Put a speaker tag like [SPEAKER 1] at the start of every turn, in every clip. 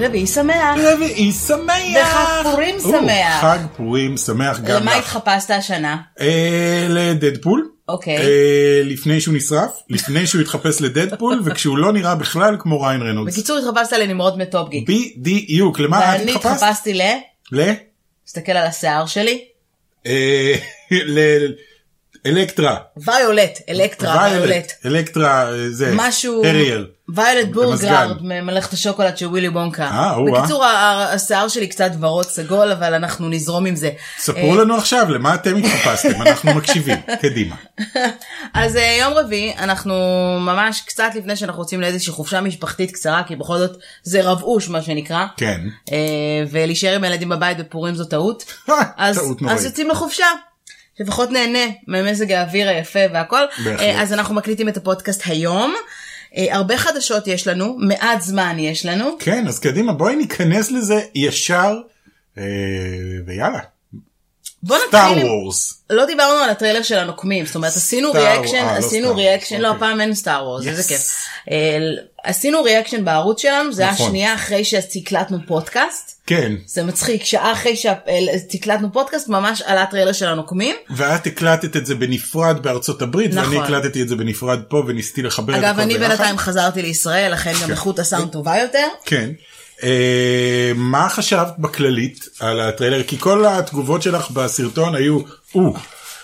[SPEAKER 1] רביעי שמח.
[SPEAKER 2] רביעי שמח!
[SPEAKER 1] וחג פורים
[SPEAKER 2] או,
[SPEAKER 1] שמח.
[SPEAKER 2] חג פורים שמח גם
[SPEAKER 1] למה
[SPEAKER 2] לך.
[SPEAKER 1] התחפשת השנה?
[SPEAKER 2] אה, לדדפול.
[SPEAKER 1] אוקיי.
[SPEAKER 2] אה, לפני שהוא נשרף, לפני שהוא התחפש לדדפול, וכשהוא לא נראה בכלל כמו ריין רנולדס.
[SPEAKER 1] בקיצור התחפשת לנמרוד מטופגיק.
[SPEAKER 2] בדיוק, למה את
[SPEAKER 1] ואני
[SPEAKER 2] התחפשת?
[SPEAKER 1] התחפשתי ל...
[SPEAKER 2] ל?
[SPEAKER 1] תסתכל על השיער שלי.
[SPEAKER 2] אה, ל... אלקטרה.
[SPEAKER 1] ויולט, אלקטרה,
[SPEAKER 2] ויולט.
[SPEAKER 1] ויולט.
[SPEAKER 2] אלקטרה, אה, זה.
[SPEAKER 1] משהו...
[SPEAKER 2] אריאל.
[SPEAKER 1] ויולט
[SPEAKER 2] במזגן.
[SPEAKER 1] בורגרד ממלאכת השוקולד של ווילי בונקה.
[SPEAKER 2] אה, או-אה.
[SPEAKER 1] בקיצור ה- ה- השיער שלי קצת ורוד סגול אבל אנחנו נזרום עם זה. אה,
[SPEAKER 2] ספרו לנו עכשיו למה אתם התחפשתם, אנחנו מקשיבים. קדימה.
[SPEAKER 1] אז אה, יום רביעי אנחנו ממש קצת לפני שאנחנו יוצאים לאיזושהי חופשה משפחתית קצרה כי בכל זאת זה רבעוש מה שנקרא.
[SPEAKER 2] כן.
[SPEAKER 1] אה, ולהישאר עם הילדים בבית בפורים זו טעות. אז,
[SPEAKER 2] טעות
[SPEAKER 1] אז
[SPEAKER 2] נוראית.
[SPEAKER 1] יוצאים לחופשה. לפחות נהנה ממזג האוויר היפה והכל.
[SPEAKER 2] בהחלט.
[SPEAKER 1] אה, אז אנחנו מקליטים את הפודקאסט היום. אה, הרבה חדשות יש לנו, מעט זמן יש לנו.
[SPEAKER 2] כן, אז קדימה, בואי ניכנס לזה ישר, אה, ויאללה.
[SPEAKER 1] בוא
[SPEAKER 2] סטאר
[SPEAKER 1] נתחיל עם...
[SPEAKER 2] וורס.
[SPEAKER 1] לא דיברנו על הטריילר של הנוקמים, זאת אומרת עשינו
[SPEAKER 2] Star-
[SPEAKER 1] ריאקשן,
[SPEAKER 2] אה, לא
[SPEAKER 1] עשינו
[SPEAKER 2] Star Wars,
[SPEAKER 1] ריאקשן, לא
[SPEAKER 2] אוקיי.
[SPEAKER 1] הפעם אין סטאר וורס,
[SPEAKER 2] Yes.
[SPEAKER 1] איזה כיף. אה, עשינו ריאקשן בערוץ שלנו, זה היה
[SPEAKER 2] נכון.
[SPEAKER 1] שנייה אחרי שהקלטנו פודקאסט.
[SPEAKER 2] כן.
[SPEAKER 1] זה מצחיק, שעה אחרי שהקלטנו פודקאסט ממש עלה טריילר של הנוקמים.
[SPEAKER 2] ואת הקלטת את זה בנפרד בארצות הברית,
[SPEAKER 1] נכון.
[SPEAKER 2] ואני הקלטתי את זה בנפרד פה וניסיתי לחבר את הכל
[SPEAKER 1] אגב,
[SPEAKER 2] ביחד.
[SPEAKER 1] אני בינתיים חזרתי לישראל, לכן גם
[SPEAKER 2] כן.
[SPEAKER 1] איכות הסאונד טובה יותר.
[SPEAKER 2] כן. אה, מה חשבת בכללית על הטריילר? כי כל התגובות שלך בסרטון היו, או,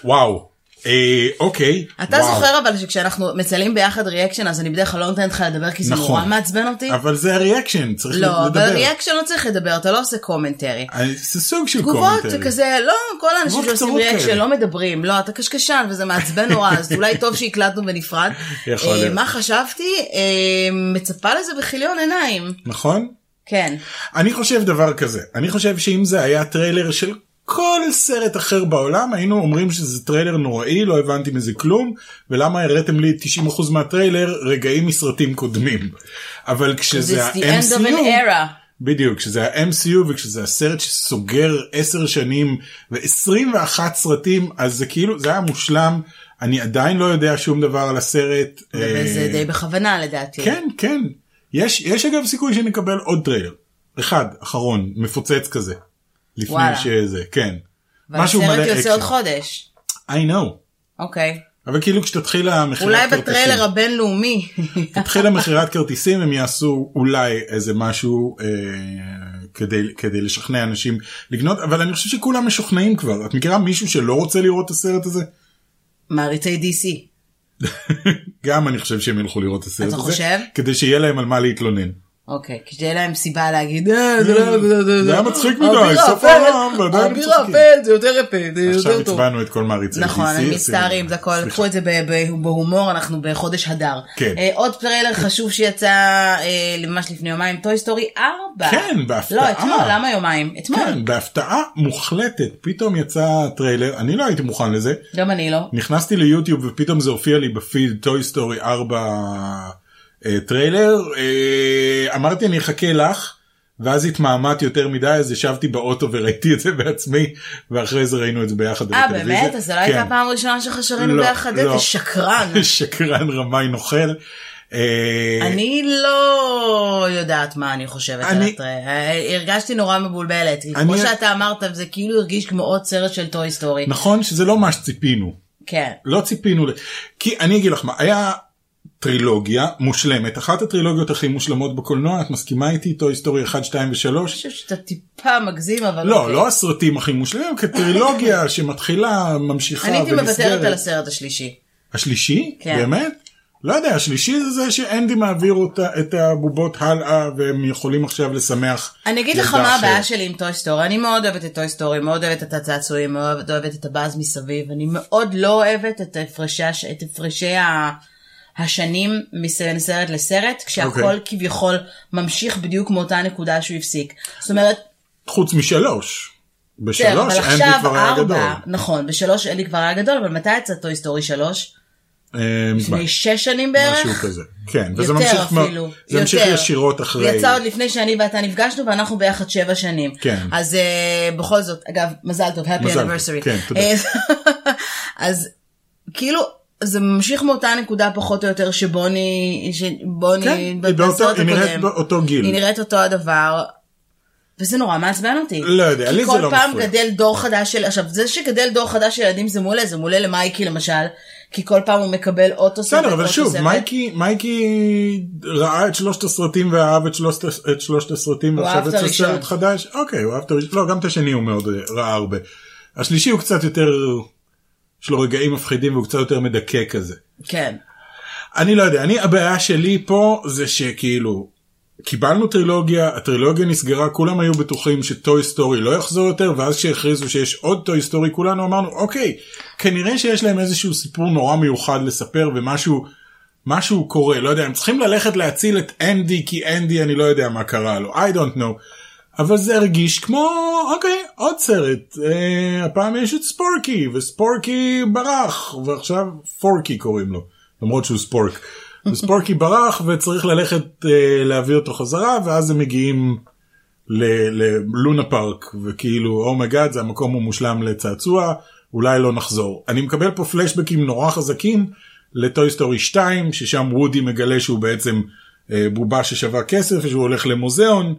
[SPEAKER 2] וואו, אה, אוקיי,
[SPEAKER 1] אתה
[SPEAKER 2] וואו.
[SPEAKER 1] זוכר אבל שכשאנחנו מצלמים ביחד ריאקשן, אז אני בדרך כלל לא נותנת לך לדבר כי זה
[SPEAKER 2] נכון.
[SPEAKER 1] נורא מעצבן אותי.
[SPEAKER 2] אבל זה הריאקשן, צריך
[SPEAKER 1] לא,
[SPEAKER 2] לדבר.
[SPEAKER 1] אבל ריאקשן לא צריך לדבר, אתה לא עושה קומנטרי.
[SPEAKER 2] אה, זה סוג של
[SPEAKER 1] תגובות
[SPEAKER 2] קומנטרי.
[SPEAKER 1] כזה, לא, כל האנשים
[SPEAKER 2] תגובות
[SPEAKER 1] שעושים
[SPEAKER 2] קצרות
[SPEAKER 1] ריאקשן
[SPEAKER 2] כאלה.
[SPEAKER 1] לא מדברים, לא, אתה קשקשן וזה מעצבן נורא, אז אולי טוב שהקלטנו בנפרד.
[SPEAKER 2] יכול
[SPEAKER 1] אה,
[SPEAKER 2] להיות.
[SPEAKER 1] מה חשבתי? אה, מצפה לזה בכיליון עיניים.
[SPEAKER 2] נכון?
[SPEAKER 1] כן.
[SPEAKER 2] אני חושב דבר כזה, אני חושב שאם זה היה טריילר של כל סרט אחר בעולם, היינו אומרים שזה טריילר נוראי, לא הבנתי מזה כלום, ולמה הראתם לי 90% מהטריילר רגעים מסרטים קודמים. אבל כשזה
[SPEAKER 1] It's the end of an
[SPEAKER 2] ה-MCU,
[SPEAKER 1] era.
[SPEAKER 2] בדיוק, כשזה ה-MCU וכשזה הסרט שסוגר 10 שנים ו-21 סרטים, אז זה כאילו, זה היה מושלם, אני עדיין לא יודע שום דבר על הסרט.
[SPEAKER 1] וזה
[SPEAKER 2] אה,
[SPEAKER 1] די בכוונה לדעתי.
[SPEAKER 2] כן, כן. יש, יש אגב סיכוי שנקבל עוד טריילר. אחד, אחרון, מפוצץ כזה. לפני
[SPEAKER 1] וואלה.
[SPEAKER 2] שזה, כן. משהו מלא
[SPEAKER 1] והסרט יוצא
[SPEAKER 2] אקשן.
[SPEAKER 1] עוד חודש.
[SPEAKER 2] I know.
[SPEAKER 1] אוקיי.
[SPEAKER 2] אבל כאילו כשתתחיל המכירת
[SPEAKER 1] אולי
[SPEAKER 2] כרטיסים,
[SPEAKER 1] בטריילר הבינלאומי.
[SPEAKER 2] תתחיל המכירת כרטיסים הם יעשו אולי איזה משהו אה, כדי, כדי לשכנע אנשים לקנות, אבל אני חושב שכולם משוכנעים כבר. את מכירה מישהו שלא רוצה לראות את הסרט הזה?
[SPEAKER 1] מעריצי DC.
[SPEAKER 2] גם אני חושב שהם ילכו לראות את הסרט
[SPEAKER 1] אתה
[SPEAKER 2] הזה.
[SPEAKER 1] חושב?
[SPEAKER 2] כדי שיהיה להם על מה להתלונן.
[SPEAKER 1] אוקיי, כשתהיה להם סיבה להגיד, "אה, זה לא-
[SPEAKER 2] זה היה מצחיק מדי,
[SPEAKER 1] האוויר
[SPEAKER 2] סוף
[SPEAKER 1] האפל,
[SPEAKER 2] העולם, ועדיין
[SPEAKER 1] האוויר
[SPEAKER 2] מצחיקים.
[SPEAKER 1] האפל, זה יותר אפל, זה
[SPEAKER 2] עכשיו
[SPEAKER 1] יותר טוב.
[SPEAKER 2] הצבענו את כל מעריצי DC.
[SPEAKER 1] נכון, אני
[SPEAKER 2] עשינו-
[SPEAKER 1] מצטערים, זה הכל,
[SPEAKER 2] אה, סליחה.
[SPEAKER 1] קחו את זה ב- ב- בהומור, אנחנו בחודש הדר.
[SPEAKER 2] כן.
[SPEAKER 1] אה, עוד טריילר חשוב שיצא אה, ממש לפני יומיים, טוי סטורי 4.
[SPEAKER 2] כן, בהפתעה.
[SPEAKER 1] לא, אתמול, למה יומיים? אתמול.
[SPEAKER 2] כן, בהפתעה מוחלטת, פתאום יצא טריילר, אני לא הייתי מוכן לזה,
[SPEAKER 1] גם אני לא.
[SPEAKER 2] נכנסתי ליוטיוב ופתאום זה הופיע לי בפיד טוי סטורי 4 אה, טריילר, אה, אמרתי אני אחכה לך, ואז התמהמת יותר מדי, אז ישבתי באוטו וראיתי את זה בעצמי, ואחרי זה ראינו את זה ביחד
[SPEAKER 1] אה,
[SPEAKER 2] בטלוויזיה.
[SPEAKER 1] באמת? אז זו לא הייתה
[SPEAKER 2] כן.
[SPEAKER 1] הפעם הראשונה שלך שראינו
[SPEAKER 2] לא,
[SPEAKER 1] ביחד?
[SPEAKER 2] לא.
[SPEAKER 1] איזה שקרן.
[SPEAKER 2] שקרן רמאי נוכל. אה,
[SPEAKER 1] אני לא יודעת מה אני חושבת על
[SPEAKER 2] אני-
[SPEAKER 1] הטריילר. אה, הרגשתי נורא מבולבלת. כי
[SPEAKER 2] אני-
[SPEAKER 1] כמו שאתה אמרת, זה כאילו הרגיש כמו עוד סרט של טוי סטורי.
[SPEAKER 2] נכון שזה לא מה שציפינו.
[SPEAKER 1] כן.
[SPEAKER 2] לא ציפינו ל... כי אני אגיד לך מה, היה טרילוגיה מושלמת, אחת הטרילוגיות הכי מושלמות בקולנוע, את מסכימה איתי? טוי היסטוריה 1, 2
[SPEAKER 1] אני
[SPEAKER 2] ו-3?
[SPEAKER 1] חושב שאתה טיפה מגזים, אבל...
[SPEAKER 2] לא,
[SPEAKER 1] אוקיי.
[SPEAKER 2] לא הסרטים הכי מושלמים, כטרילוגיה שמתחילה, ממשיכה
[SPEAKER 1] אני הייתי מוותרת על
[SPEAKER 2] ונסגרת.
[SPEAKER 1] הסרט השלישי.
[SPEAKER 2] השלישי?
[SPEAKER 1] כן.
[SPEAKER 2] באמת? לא יודע, השלישי זה זה שאנדי מעביר אותה, את הבובות הלאה והם יכולים עכשיו לשמח.
[SPEAKER 1] אני אגיד
[SPEAKER 2] ילדה
[SPEAKER 1] לך מה
[SPEAKER 2] אחרת.
[SPEAKER 1] הבעיה שלי עם טוי סטורי, אני מאוד אוהבת את טוי סטורי, מאוד אוהבת את הצעצועים, מאוד אוהבת את הבאז מסביב, אני מאוד לא אוהבת את הפרשי, הש- את הפרשי ה... השנים מסרט לסרט, כשהכל
[SPEAKER 2] אוקיי.
[SPEAKER 1] okay. כביכול ממשיך בדיוק מאותה נקודה שהוא הפסיק. זאת אומרת,
[SPEAKER 2] חוץ משלוש.
[SPEAKER 1] בסדר,
[SPEAKER 2] בשלוש
[SPEAKER 1] כן, אבל
[SPEAKER 2] אנדי
[SPEAKER 1] עכשיו
[SPEAKER 2] כבר היה גדול.
[SPEAKER 1] ארבע, נכון, בשלוש אלי כבר היה גדול, אבל מתי יצא טוי סטורי שלוש?
[SPEAKER 2] אה, מזמן.
[SPEAKER 1] לפני שש שנים בערך?
[SPEAKER 2] משהו כזה. כן, וזה
[SPEAKER 1] יותר
[SPEAKER 2] ממשיך מאוד-
[SPEAKER 1] אפילו,
[SPEAKER 2] זה ממשיך
[SPEAKER 1] יותר.
[SPEAKER 2] ישירות אחרי.
[SPEAKER 1] יצא עוד לפני שאני ואתה נפגשנו ואנחנו ביחד שבע שנים.
[SPEAKER 2] כן.
[SPEAKER 1] אז uh, בכל זאת, אגב, מזל טוב, happy
[SPEAKER 2] מזל טוב,
[SPEAKER 1] anniversary.
[SPEAKER 2] כן, תודה.
[SPEAKER 1] אה, אז כאילו, זה ממשיך מאותה נקודה פחות או יותר שבוני, שבוני,
[SPEAKER 2] כן, היא באותו-
[SPEAKER 1] בסרט
[SPEAKER 2] היא נראית
[SPEAKER 1] הקודם.
[SPEAKER 2] באותו גיל.
[SPEAKER 1] היא נראית אותו הדבר. וזה נורא מעצבן אותי.
[SPEAKER 2] לא יודע, לי זה
[SPEAKER 1] כי
[SPEAKER 2] לא
[SPEAKER 1] כל פעם
[SPEAKER 2] מפריע.
[SPEAKER 1] גדל דור חדש של, עכשיו זה שגדל דור חדש של ילדים זה מעולה, זה מעולה למייקי למשל, כי כל פעם הוא מקבל עוד תוספת,
[SPEAKER 2] בסדר, אבל
[SPEAKER 1] עוד
[SPEAKER 2] שוב,
[SPEAKER 1] תוספת.
[SPEAKER 2] מייקי, מייקי ראה את שלושת הסרטים ואהב את שלושת, את שלושת הסרטים
[SPEAKER 1] הוא
[SPEAKER 2] ועכשיו
[SPEAKER 1] אהב את
[SPEAKER 2] יצא
[SPEAKER 1] הראשון.
[SPEAKER 2] סרט חדש. אוקיי, הוא אהב את הראשון. לא, גם את השני הוא מאוד אה, ראה הרבה. השלישי הוא קצת יותר, יש לו רגעים מפחידים והוא קצת יותר מדכא כזה.
[SPEAKER 1] כן.
[SPEAKER 2] אני לא יודע, אני, הבעיה שלי פה זה שכאילו, קיבלנו טרילוגיה, הטרילוגיה נסגרה, כולם היו בטוחים שטוי סטורי לא יחזור יותר, ואז שהכריזו שיש עוד טוי סטורי, כולנו אמרנו, אוקיי, כנראה שיש להם איזשהו סיפור נורא מיוחד לספר ומשהו... משהו קורה, לא יודע, הם צריכים ללכת להציל את אנדי, כי אנדי אני לא יודע מה קרה לו, I don't know. אבל זה הרגיש כמו, אוקיי, עוד סרט. אה, הפעם יש את ספורקי, וספורקי ברח, ועכשיו פורקי קוראים לו, למרות שהוא ספורק. וספורקי ברח, וצריך ללכת אה, להביא אותו חזרה, ואז הם מגיעים ל- ללונה פארק, וכאילו, אומייגאד, זה המקום המושלם לצעצוע, אולי לא נחזור. אני מקבל פה פלשבקים נורא חזקים לטוי סטורי 2, ששם וודי מגלה שהוא בעצם אה, בובה ששווה כסף, ושהוא הולך למוזיאון,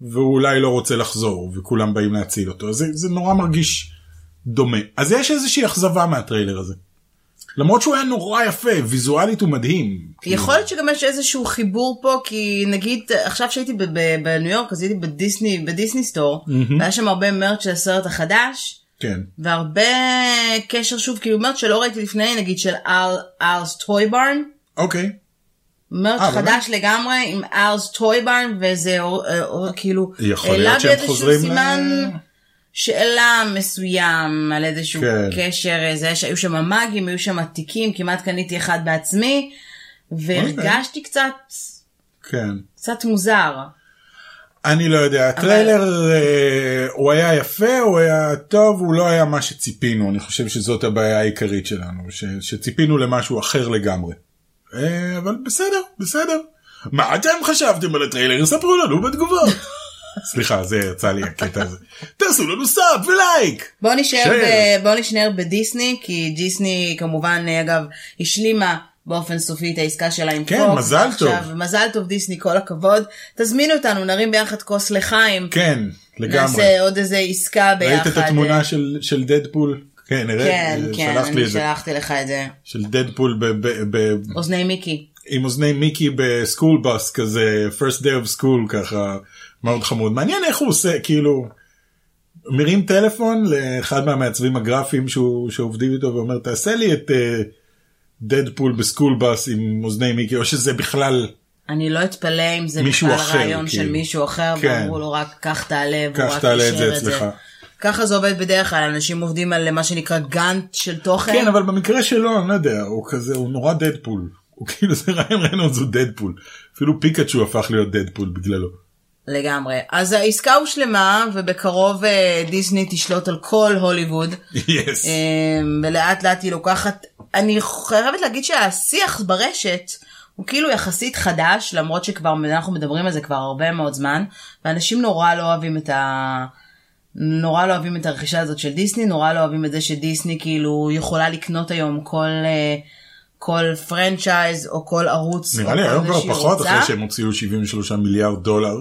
[SPEAKER 2] והוא אולי לא רוצה לחזור, וכולם באים להציל אותו. אז זה, זה נורא מרגיש דומה. אז יש איזושהי אכזבה מהטריילר הזה. למרות שהוא היה נורא יפה, ויזואלית הוא מדהים.
[SPEAKER 1] יכול להיות שגם יש איזשהו חיבור פה כי נגיד עכשיו שהייתי ב- ב- בניו יורק אז הייתי בדיסני בדיסני סטור והיה שם הרבה מרץ של הסרט החדש
[SPEAKER 2] כן.
[SPEAKER 1] והרבה קשר שוב כאילו מרץ שלא ראיתי לפני נגיד של אל אלס טוי ברן
[SPEAKER 2] אוקיי.
[SPEAKER 1] מרץ
[SPEAKER 2] אה, באמת?
[SPEAKER 1] חדש לגמרי עם אלס טוי ברן וזה אור- אה, אור- כאילו
[SPEAKER 2] יכול
[SPEAKER 1] העלה
[SPEAKER 2] להיות
[SPEAKER 1] בי
[SPEAKER 2] שהם
[SPEAKER 1] איזשהו
[SPEAKER 2] חוזרים ל-
[SPEAKER 1] סימן שאלה מסוים על איזשהו
[SPEAKER 2] כן.
[SPEAKER 1] קשר איזה שהיו שם מאגים היו שם עתיקים כמעט קניתי אחד בעצמי והרגשתי קצת.
[SPEAKER 2] כן.
[SPEAKER 1] קצת מוזר.
[SPEAKER 2] אני לא יודע, הטריילר אה, הוא היה יפה, הוא היה טוב, הוא לא היה מה שציפינו, אני חושב שזאת הבעיה העיקרית שלנו, ש, שציפינו למשהו אחר לגמרי. אה, אבל בסדר, בסדר. מה אתם חשבתם על הטריילר? ספרו לנו בתגובות. סליחה, זה יצא לי הקטע הזה. תעשו לנו סאב ולייק!
[SPEAKER 1] בוא נשאר,
[SPEAKER 2] שיר.
[SPEAKER 1] ב, בוא נשאר בדיסני, כי דיסני כמובן, אה, אגב, השלימה באופן סופי את העסקה שלה עם
[SPEAKER 2] כן,
[SPEAKER 1] פוקס.
[SPEAKER 2] מזל טוב.
[SPEAKER 1] עכשיו, מזל טוב דיסני, כל הכבוד. תזמינו אותנו, נרים ביחד כוס לחיים.
[SPEAKER 2] כן, לגמרי.
[SPEAKER 1] נעשה עוד איזה עסקה ביחד. אה?
[SPEAKER 2] ראית את התמונה של, של דדפול? כן, נראה,
[SPEAKER 1] כן,
[SPEAKER 2] אה,
[SPEAKER 1] כן,
[SPEAKER 2] שלחת לי
[SPEAKER 1] אני
[SPEAKER 2] את זה.
[SPEAKER 1] שלחתי לך את זה.
[SPEAKER 2] של דדפול ב- ב- ב-
[SPEAKER 1] אוזני מיקי.
[SPEAKER 2] עם אוזני מיקי בסקול בס כזה first day of school ככה מאוד חמוד מעניין איך הוא עושה כאילו מרים טלפון לאחד מהמעצבים הגרפיים שהוא שעובדים איתו ואומר תעשה לי את דדפול בסקול בס עם אוזני מיקי או שזה בכלל
[SPEAKER 1] אני לא אתפלא אם זה
[SPEAKER 2] מישהו
[SPEAKER 1] בכלל
[SPEAKER 2] אחר,
[SPEAKER 1] רעיון של
[SPEAKER 2] כאילו.
[SPEAKER 1] מישהו אחר,
[SPEAKER 2] כן.
[SPEAKER 1] ואמרו לו רק קח תעלה, והוא
[SPEAKER 2] קח
[SPEAKER 1] רק
[SPEAKER 2] תעלה את זה
[SPEAKER 1] אישר
[SPEAKER 2] אצלך."
[SPEAKER 1] ככה זה עובד בדרך כלל, אנשים עובדים על מה שנקרא גאנט של תוכן.
[SPEAKER 2] כן אבל במקרה שלו אני לא יודע הוא כזה הוא נורא דדפול הוא כאילו זה רעיון רנולדס הוא דדפול אפילו פיקאצ'ו הפך להיות דדפול בגללו.
[SPEAKER 1] לגמרי. אז העסקה הושלמה, ובקרוב אה, דיסני תשלוט על כל הוליווד,
[SPEAKER 2] Yes.
[SPEAKER 1] אה, ולאט לאט היא לוקחת, אני חייבת להגיד שהשיח ברשת הוא כאילו יחסית חדש, למרות שכבר אנחנו מדברים על זה כבר הרבה מאוד זמן, ואנשים נורא לא אוהבים את ה... נורא לא אוהבים את הרכישה הזאת של דיסני, נורא לא אוהבים את זה שדיסני כאילו יכולה לקנות היום כל... אה, כל פרנצ'ייז או כל ערוץ.
[SPEAKER 2] נראה
[SPEAKER 1] או
[SPEAKER 2] לי
[SPEAKER 1] כל
[SPEAKER 2] היום
[SPEAKER 1] זה
[SPEAKER 2] כבר
[SPEAKER 1] שהיא
[SPEAKER 2] פחות
[SPEAKER 1] רוצה.
[SPEAKER 2] אחרי שהם הוציאו 73 מיליארד דולר.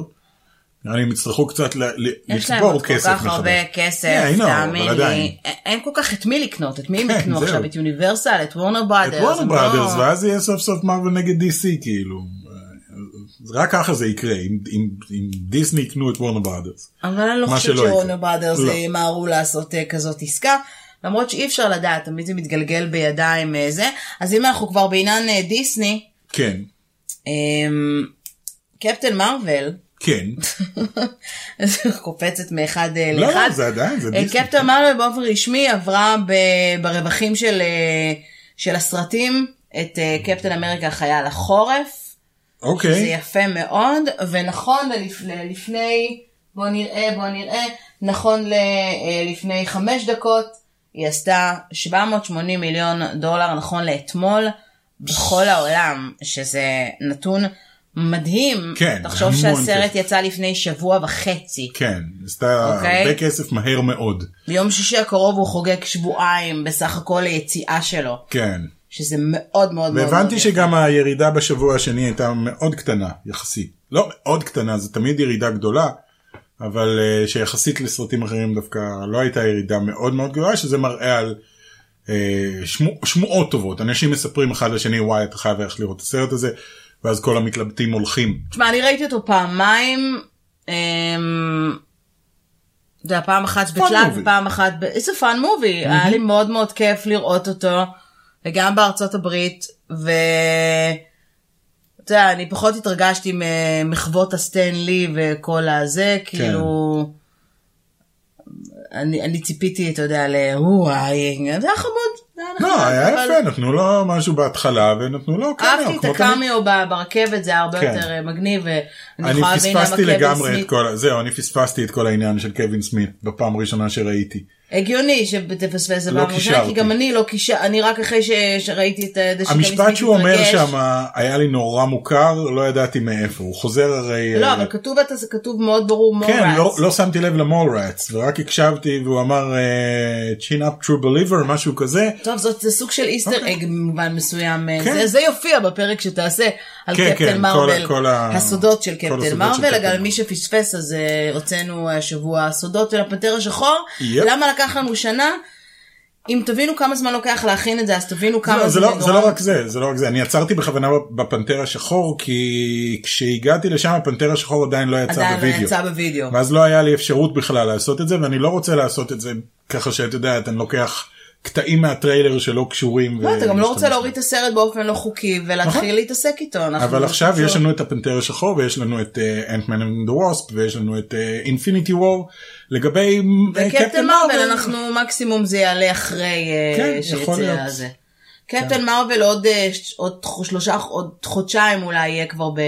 [SPEAKER 2] נראה לי הם יצטרכו קצת ל- ל-
[SPEAKER 1] יש להם עוד
[SPEAKER 2] לצבור
[SPEAKER 1] כל
[SPEAKER 2] כסף
[SPEAKER 1] כך
[SPEAKER 2] מחדש.
[SPEAKER 1] הרבה כסף,
[SPEAKER 2] Yeah, I know,
[SPEAKER 1] תאמין
[SPEAKER 2] אבל עדיין.
[SPEAKER 1] לי. אין- אין כל כך את מי לקנות, את מי הם
[SPEAKER 2] כן,
[SPEAKER 1] יקנו
[SPEAKER 2] זהו.
[SPEAKER 1] עכשיו, את יוניברסל, את וורנר
[SPEAKER 2] את
[SPEAKER 1] בראדרס.
[SPEAKER 2] וורנר
[SPEAKER 1] הם לא-
[SPEAKER 2] בראדרס ואז יהיה סוף סוף מרוויל נגד DC כאילו. אה, רק ככה זה יקרה אם- אם אם דיסני יקנו את וורנר בראדרס.
[SPEAKER 1] אבל אני לא
[SPEAKER 2] מה
[SPEAKER 1] חושבת
[SPEAKER 2] שלא יקרה.
[SPEAKER 1] שוורנר בראדרס
[SPEAKER 2] לא.
[SPEAKER 1] ימהרו לעשות אה, כזאת עסקה. למרות שאי אפשר לדעת, תמיד זה מתגלגל בידיים אה, זה. אז אם אנחנו כבר בעניין אה, דיסני,
[SPEAKER 2] כן,
[SPEAKER 1] אמ, קפטן מרוויל,
[SPEAKER 2] כן.
[SPEAKER 1] קופצת מאחד אה,
[SPEAKER 2] לא,
[SPEAKER 1] לאחד.
[SPEAKER 2] זה עדיין, זה
[SPEAKER 1] אה,
[SPEAKER 2] דיסני.
[SPEAKER 1] קפטן מרוויל באופן רשמי עברה ב- ברווחים של, אה, של הסרטים את אה, קפטן אמריקה חייל החורף. זה
[SPEAKER 2] אוקיי.
[SPEAKER 1] יפה מאוד, ונכון ללפ- ללפני, בוא נראה, בוא נראה, נכון ל- אה, לפני חמש דקות, היא עשתה 780 מיליון דולר, נכון לאתמול, בכל העולם, שזה נתון מדהים.
[SPEAKER 2] כן,
[SPEAKER 1] תחשוב
[SPEAKER 2] המון
[SPEAKER 1] שהסרט
[SPEAKER 2] כסף.
[SPEAKER 1] יצא לפני שבוע וחצי.
[SPEAKER 2] כן, עשתה
[SPEAKER 1] אוקיי.
[SPEAKER 2] הרבה כסף מהר מאוד.
[SPEAKER 1] ביום שישי הקרוב הוא חוגג שבועיים בסך הכל היציאה שלו.
[SPEAKER 2] כן.
[SPEAKER 1] שזה מאוד מאוד מאוד...
[SPEAKER 2] והבנתי
[SPEAKER 1] מרגיע.
[SPEAKER 2] שגם הירידה בשבוע השני הייתה מאוד קטנה, יחסית. לא מאוד קטנה, זו תמיד ירידה גדולה, אבל אה, שיחסית לסרטים אחרים דווקא לא הייתה ירידה מאוד מאוד גדולה, שזה מראה על אה, שמו, שמועות טובות. אנשים מספרים אחד לשני, וואי, אתה חייב ללכת לראות את הסרט הזה, ואז כל המתלבטים הולכים.
[SPEAKER 1] תשמע, אני ראיתי אותו פעמיים. אמ, זה היה פעם אחת בקלאב
[SPEAKER 2] movie.
[SPEAKER 1] ופעם אחת ב... It's a fun movie. היה לי מאוד מאוד כיף לראות אותו, וגם בארצות הברית, ו... אתה יודע, אני פחות התרגשתי ממחוות הסטנלי וכל הזה,
[SPEAKER 2] כן.
[SPEAKER 1] כאילו... אני, אני ציפיתי, אתה יודע, ל... וואי, זה היה חמוד. זה היה
[SPEAKER 2] לא,
[SPEAKER 1] נחמד,
[SPEAKER 2] היה
[SPEAKER 1] אה, אבל-
[SPEAKER 2] יפה, נתנו לו משהו בהתחלה ונתנו לו
[SPEAKER 1] אהבתי את
[SPEAKER 2] כמו תמיד.
[SPEAKER 1] הקמיו ב- ברכבת, זה היה הרבה
[SPEAKER 2] כן.
[SPEAKER 1] יותר אה, מגניב, ואני
[SPEAKER 2] אני
[SPEAKER 1] יכולה להבין למה
[SPEAKER 2] פספסתי
[SPEAKER 1] קווין
[SPEAKER 2] לגמרי
[SPEAKER 1] סמית
[SPEAKER 2] את כל, ה- זהו, אני פספסתי את כל העניין של קווין סמית בפעם הראשונה שראיתי.
[SPEAKER 1] הגיוני שתפספס את זה
[SPEAKER 2] לא
[SPEAKER 1] פעם ראשונה, כי
[SPEAKER 2] קישרתי.
[SPEAKER 1] גם אני לא קישר, אני רק אחרי ש... שראיתי את אה, זה שקווין
[SPEAKER 2] המשפט
[SPEAKER 1] סמית
[SPEAKER 2] שהוא אומר
[SPEAKER 1] התרגש.
[SPEAKER 2] שם היה לי נורא מוכר לא ידעתי מאיפה הוא חוזר הרי
[SPEAKER 1] לא,
[SPEAKER 2] אה,
[SPEAKER 1] אבל כתוב את זה, כתוב מאוד ברור מורץ.
[SPEAKER 2] כן לא, לא שמתי לב למורץ ורק הקשבתי והוא אמר אה, chin up true believer משהו כזה
[SPEAKER 1] טוב, זאת, זה סוג של איסטר אג במובן מסוים. אה,
[SPEAKER 2] אוקיי. כן.
[SPEAKER 1] זה, זה יופיע בפרק שתעשה על
[SPEAKER 2] כן,
[SPEAKER 1] קפטן
[SPEAKER 2] כן, כל
[SPEAKER 1] מרוויל.
[SPEAKER 2] ה- כל ה-
[SPEAKER 1] הסודות של
[SPEAKER 2] כל הסודות
[SPEAKER 1] קפטן
[SPEAKER 2] של
[SPEAKER 1] מרוויל.
[SPEAKER 2] קפטן
[SPEAKER 1] אגב,
[SPEAKER 2] מרוויל.
[SPEAKER 1] מי שפספס, אז אה, הוצאנו השבוע סודות של הפנתר השחור.
[SPEAKER 2] יפ.
[SPEAKER 1] למה לקח לנו שנה? אם תבינו כמה זמן לוקח להכין את זה, אז תבינו כמה
[SPEAKER 2] לא, זה,
[SPEAKER 1] זה
[SPEAKER 2] לא, זה
[SPEAKER 1] מגורם.
[SPEAKER 2] לא רק זה, זה לא רק זה, אני עצרתי בכוונה בפנתר השחור כי כשהגעתי לשם הפנתר השחור עדיין לא יצא
[SPEAKER 1] עדיין לא
[SPEAKER 2] בווידאו.
[SPEAKER 1] יצא בווידאו.
[SPEAKER 2] ואז לא היה לי אפשרות בכלל לעשות את זה ואני לא רוצה לעשות את זה ככה שאת יודעת אני לוקח קטעים מהטריילר שלא קשורים.
[SPEAKER 1] לא, אתה גם לא רוצה
[SPEAKER 2] ומשתמש
[SPEAKER 1] להוריד את הסרט באופן לא חוקי ולהתחיל להתעסק איתו. אנחנו
[SPEAKER 2] נכון.
[SPEAKER 1] לא
[SPEAKER 2] אבל עכשיו
[SPEAKER 1] פשוט-
[SPEAKER 2] יש לנו את הפנתר השחור ויש לנו את אה, אנטמן אנד ווספ ויש לנו את אינפיניטי וור לגבי אה,
[SPEAKER 1] וקפטן מרוויל אנחנו מקסימום זה יעלה אחרי אה,
[SPEAKER 2] כן, יכול להיות. כן.
[SPEAKER 1] שיצא זה. קפטן מרוויל עוד אה, ש- עוד חו- שלושה עוד חודשיים אולי יהיה כבר ב...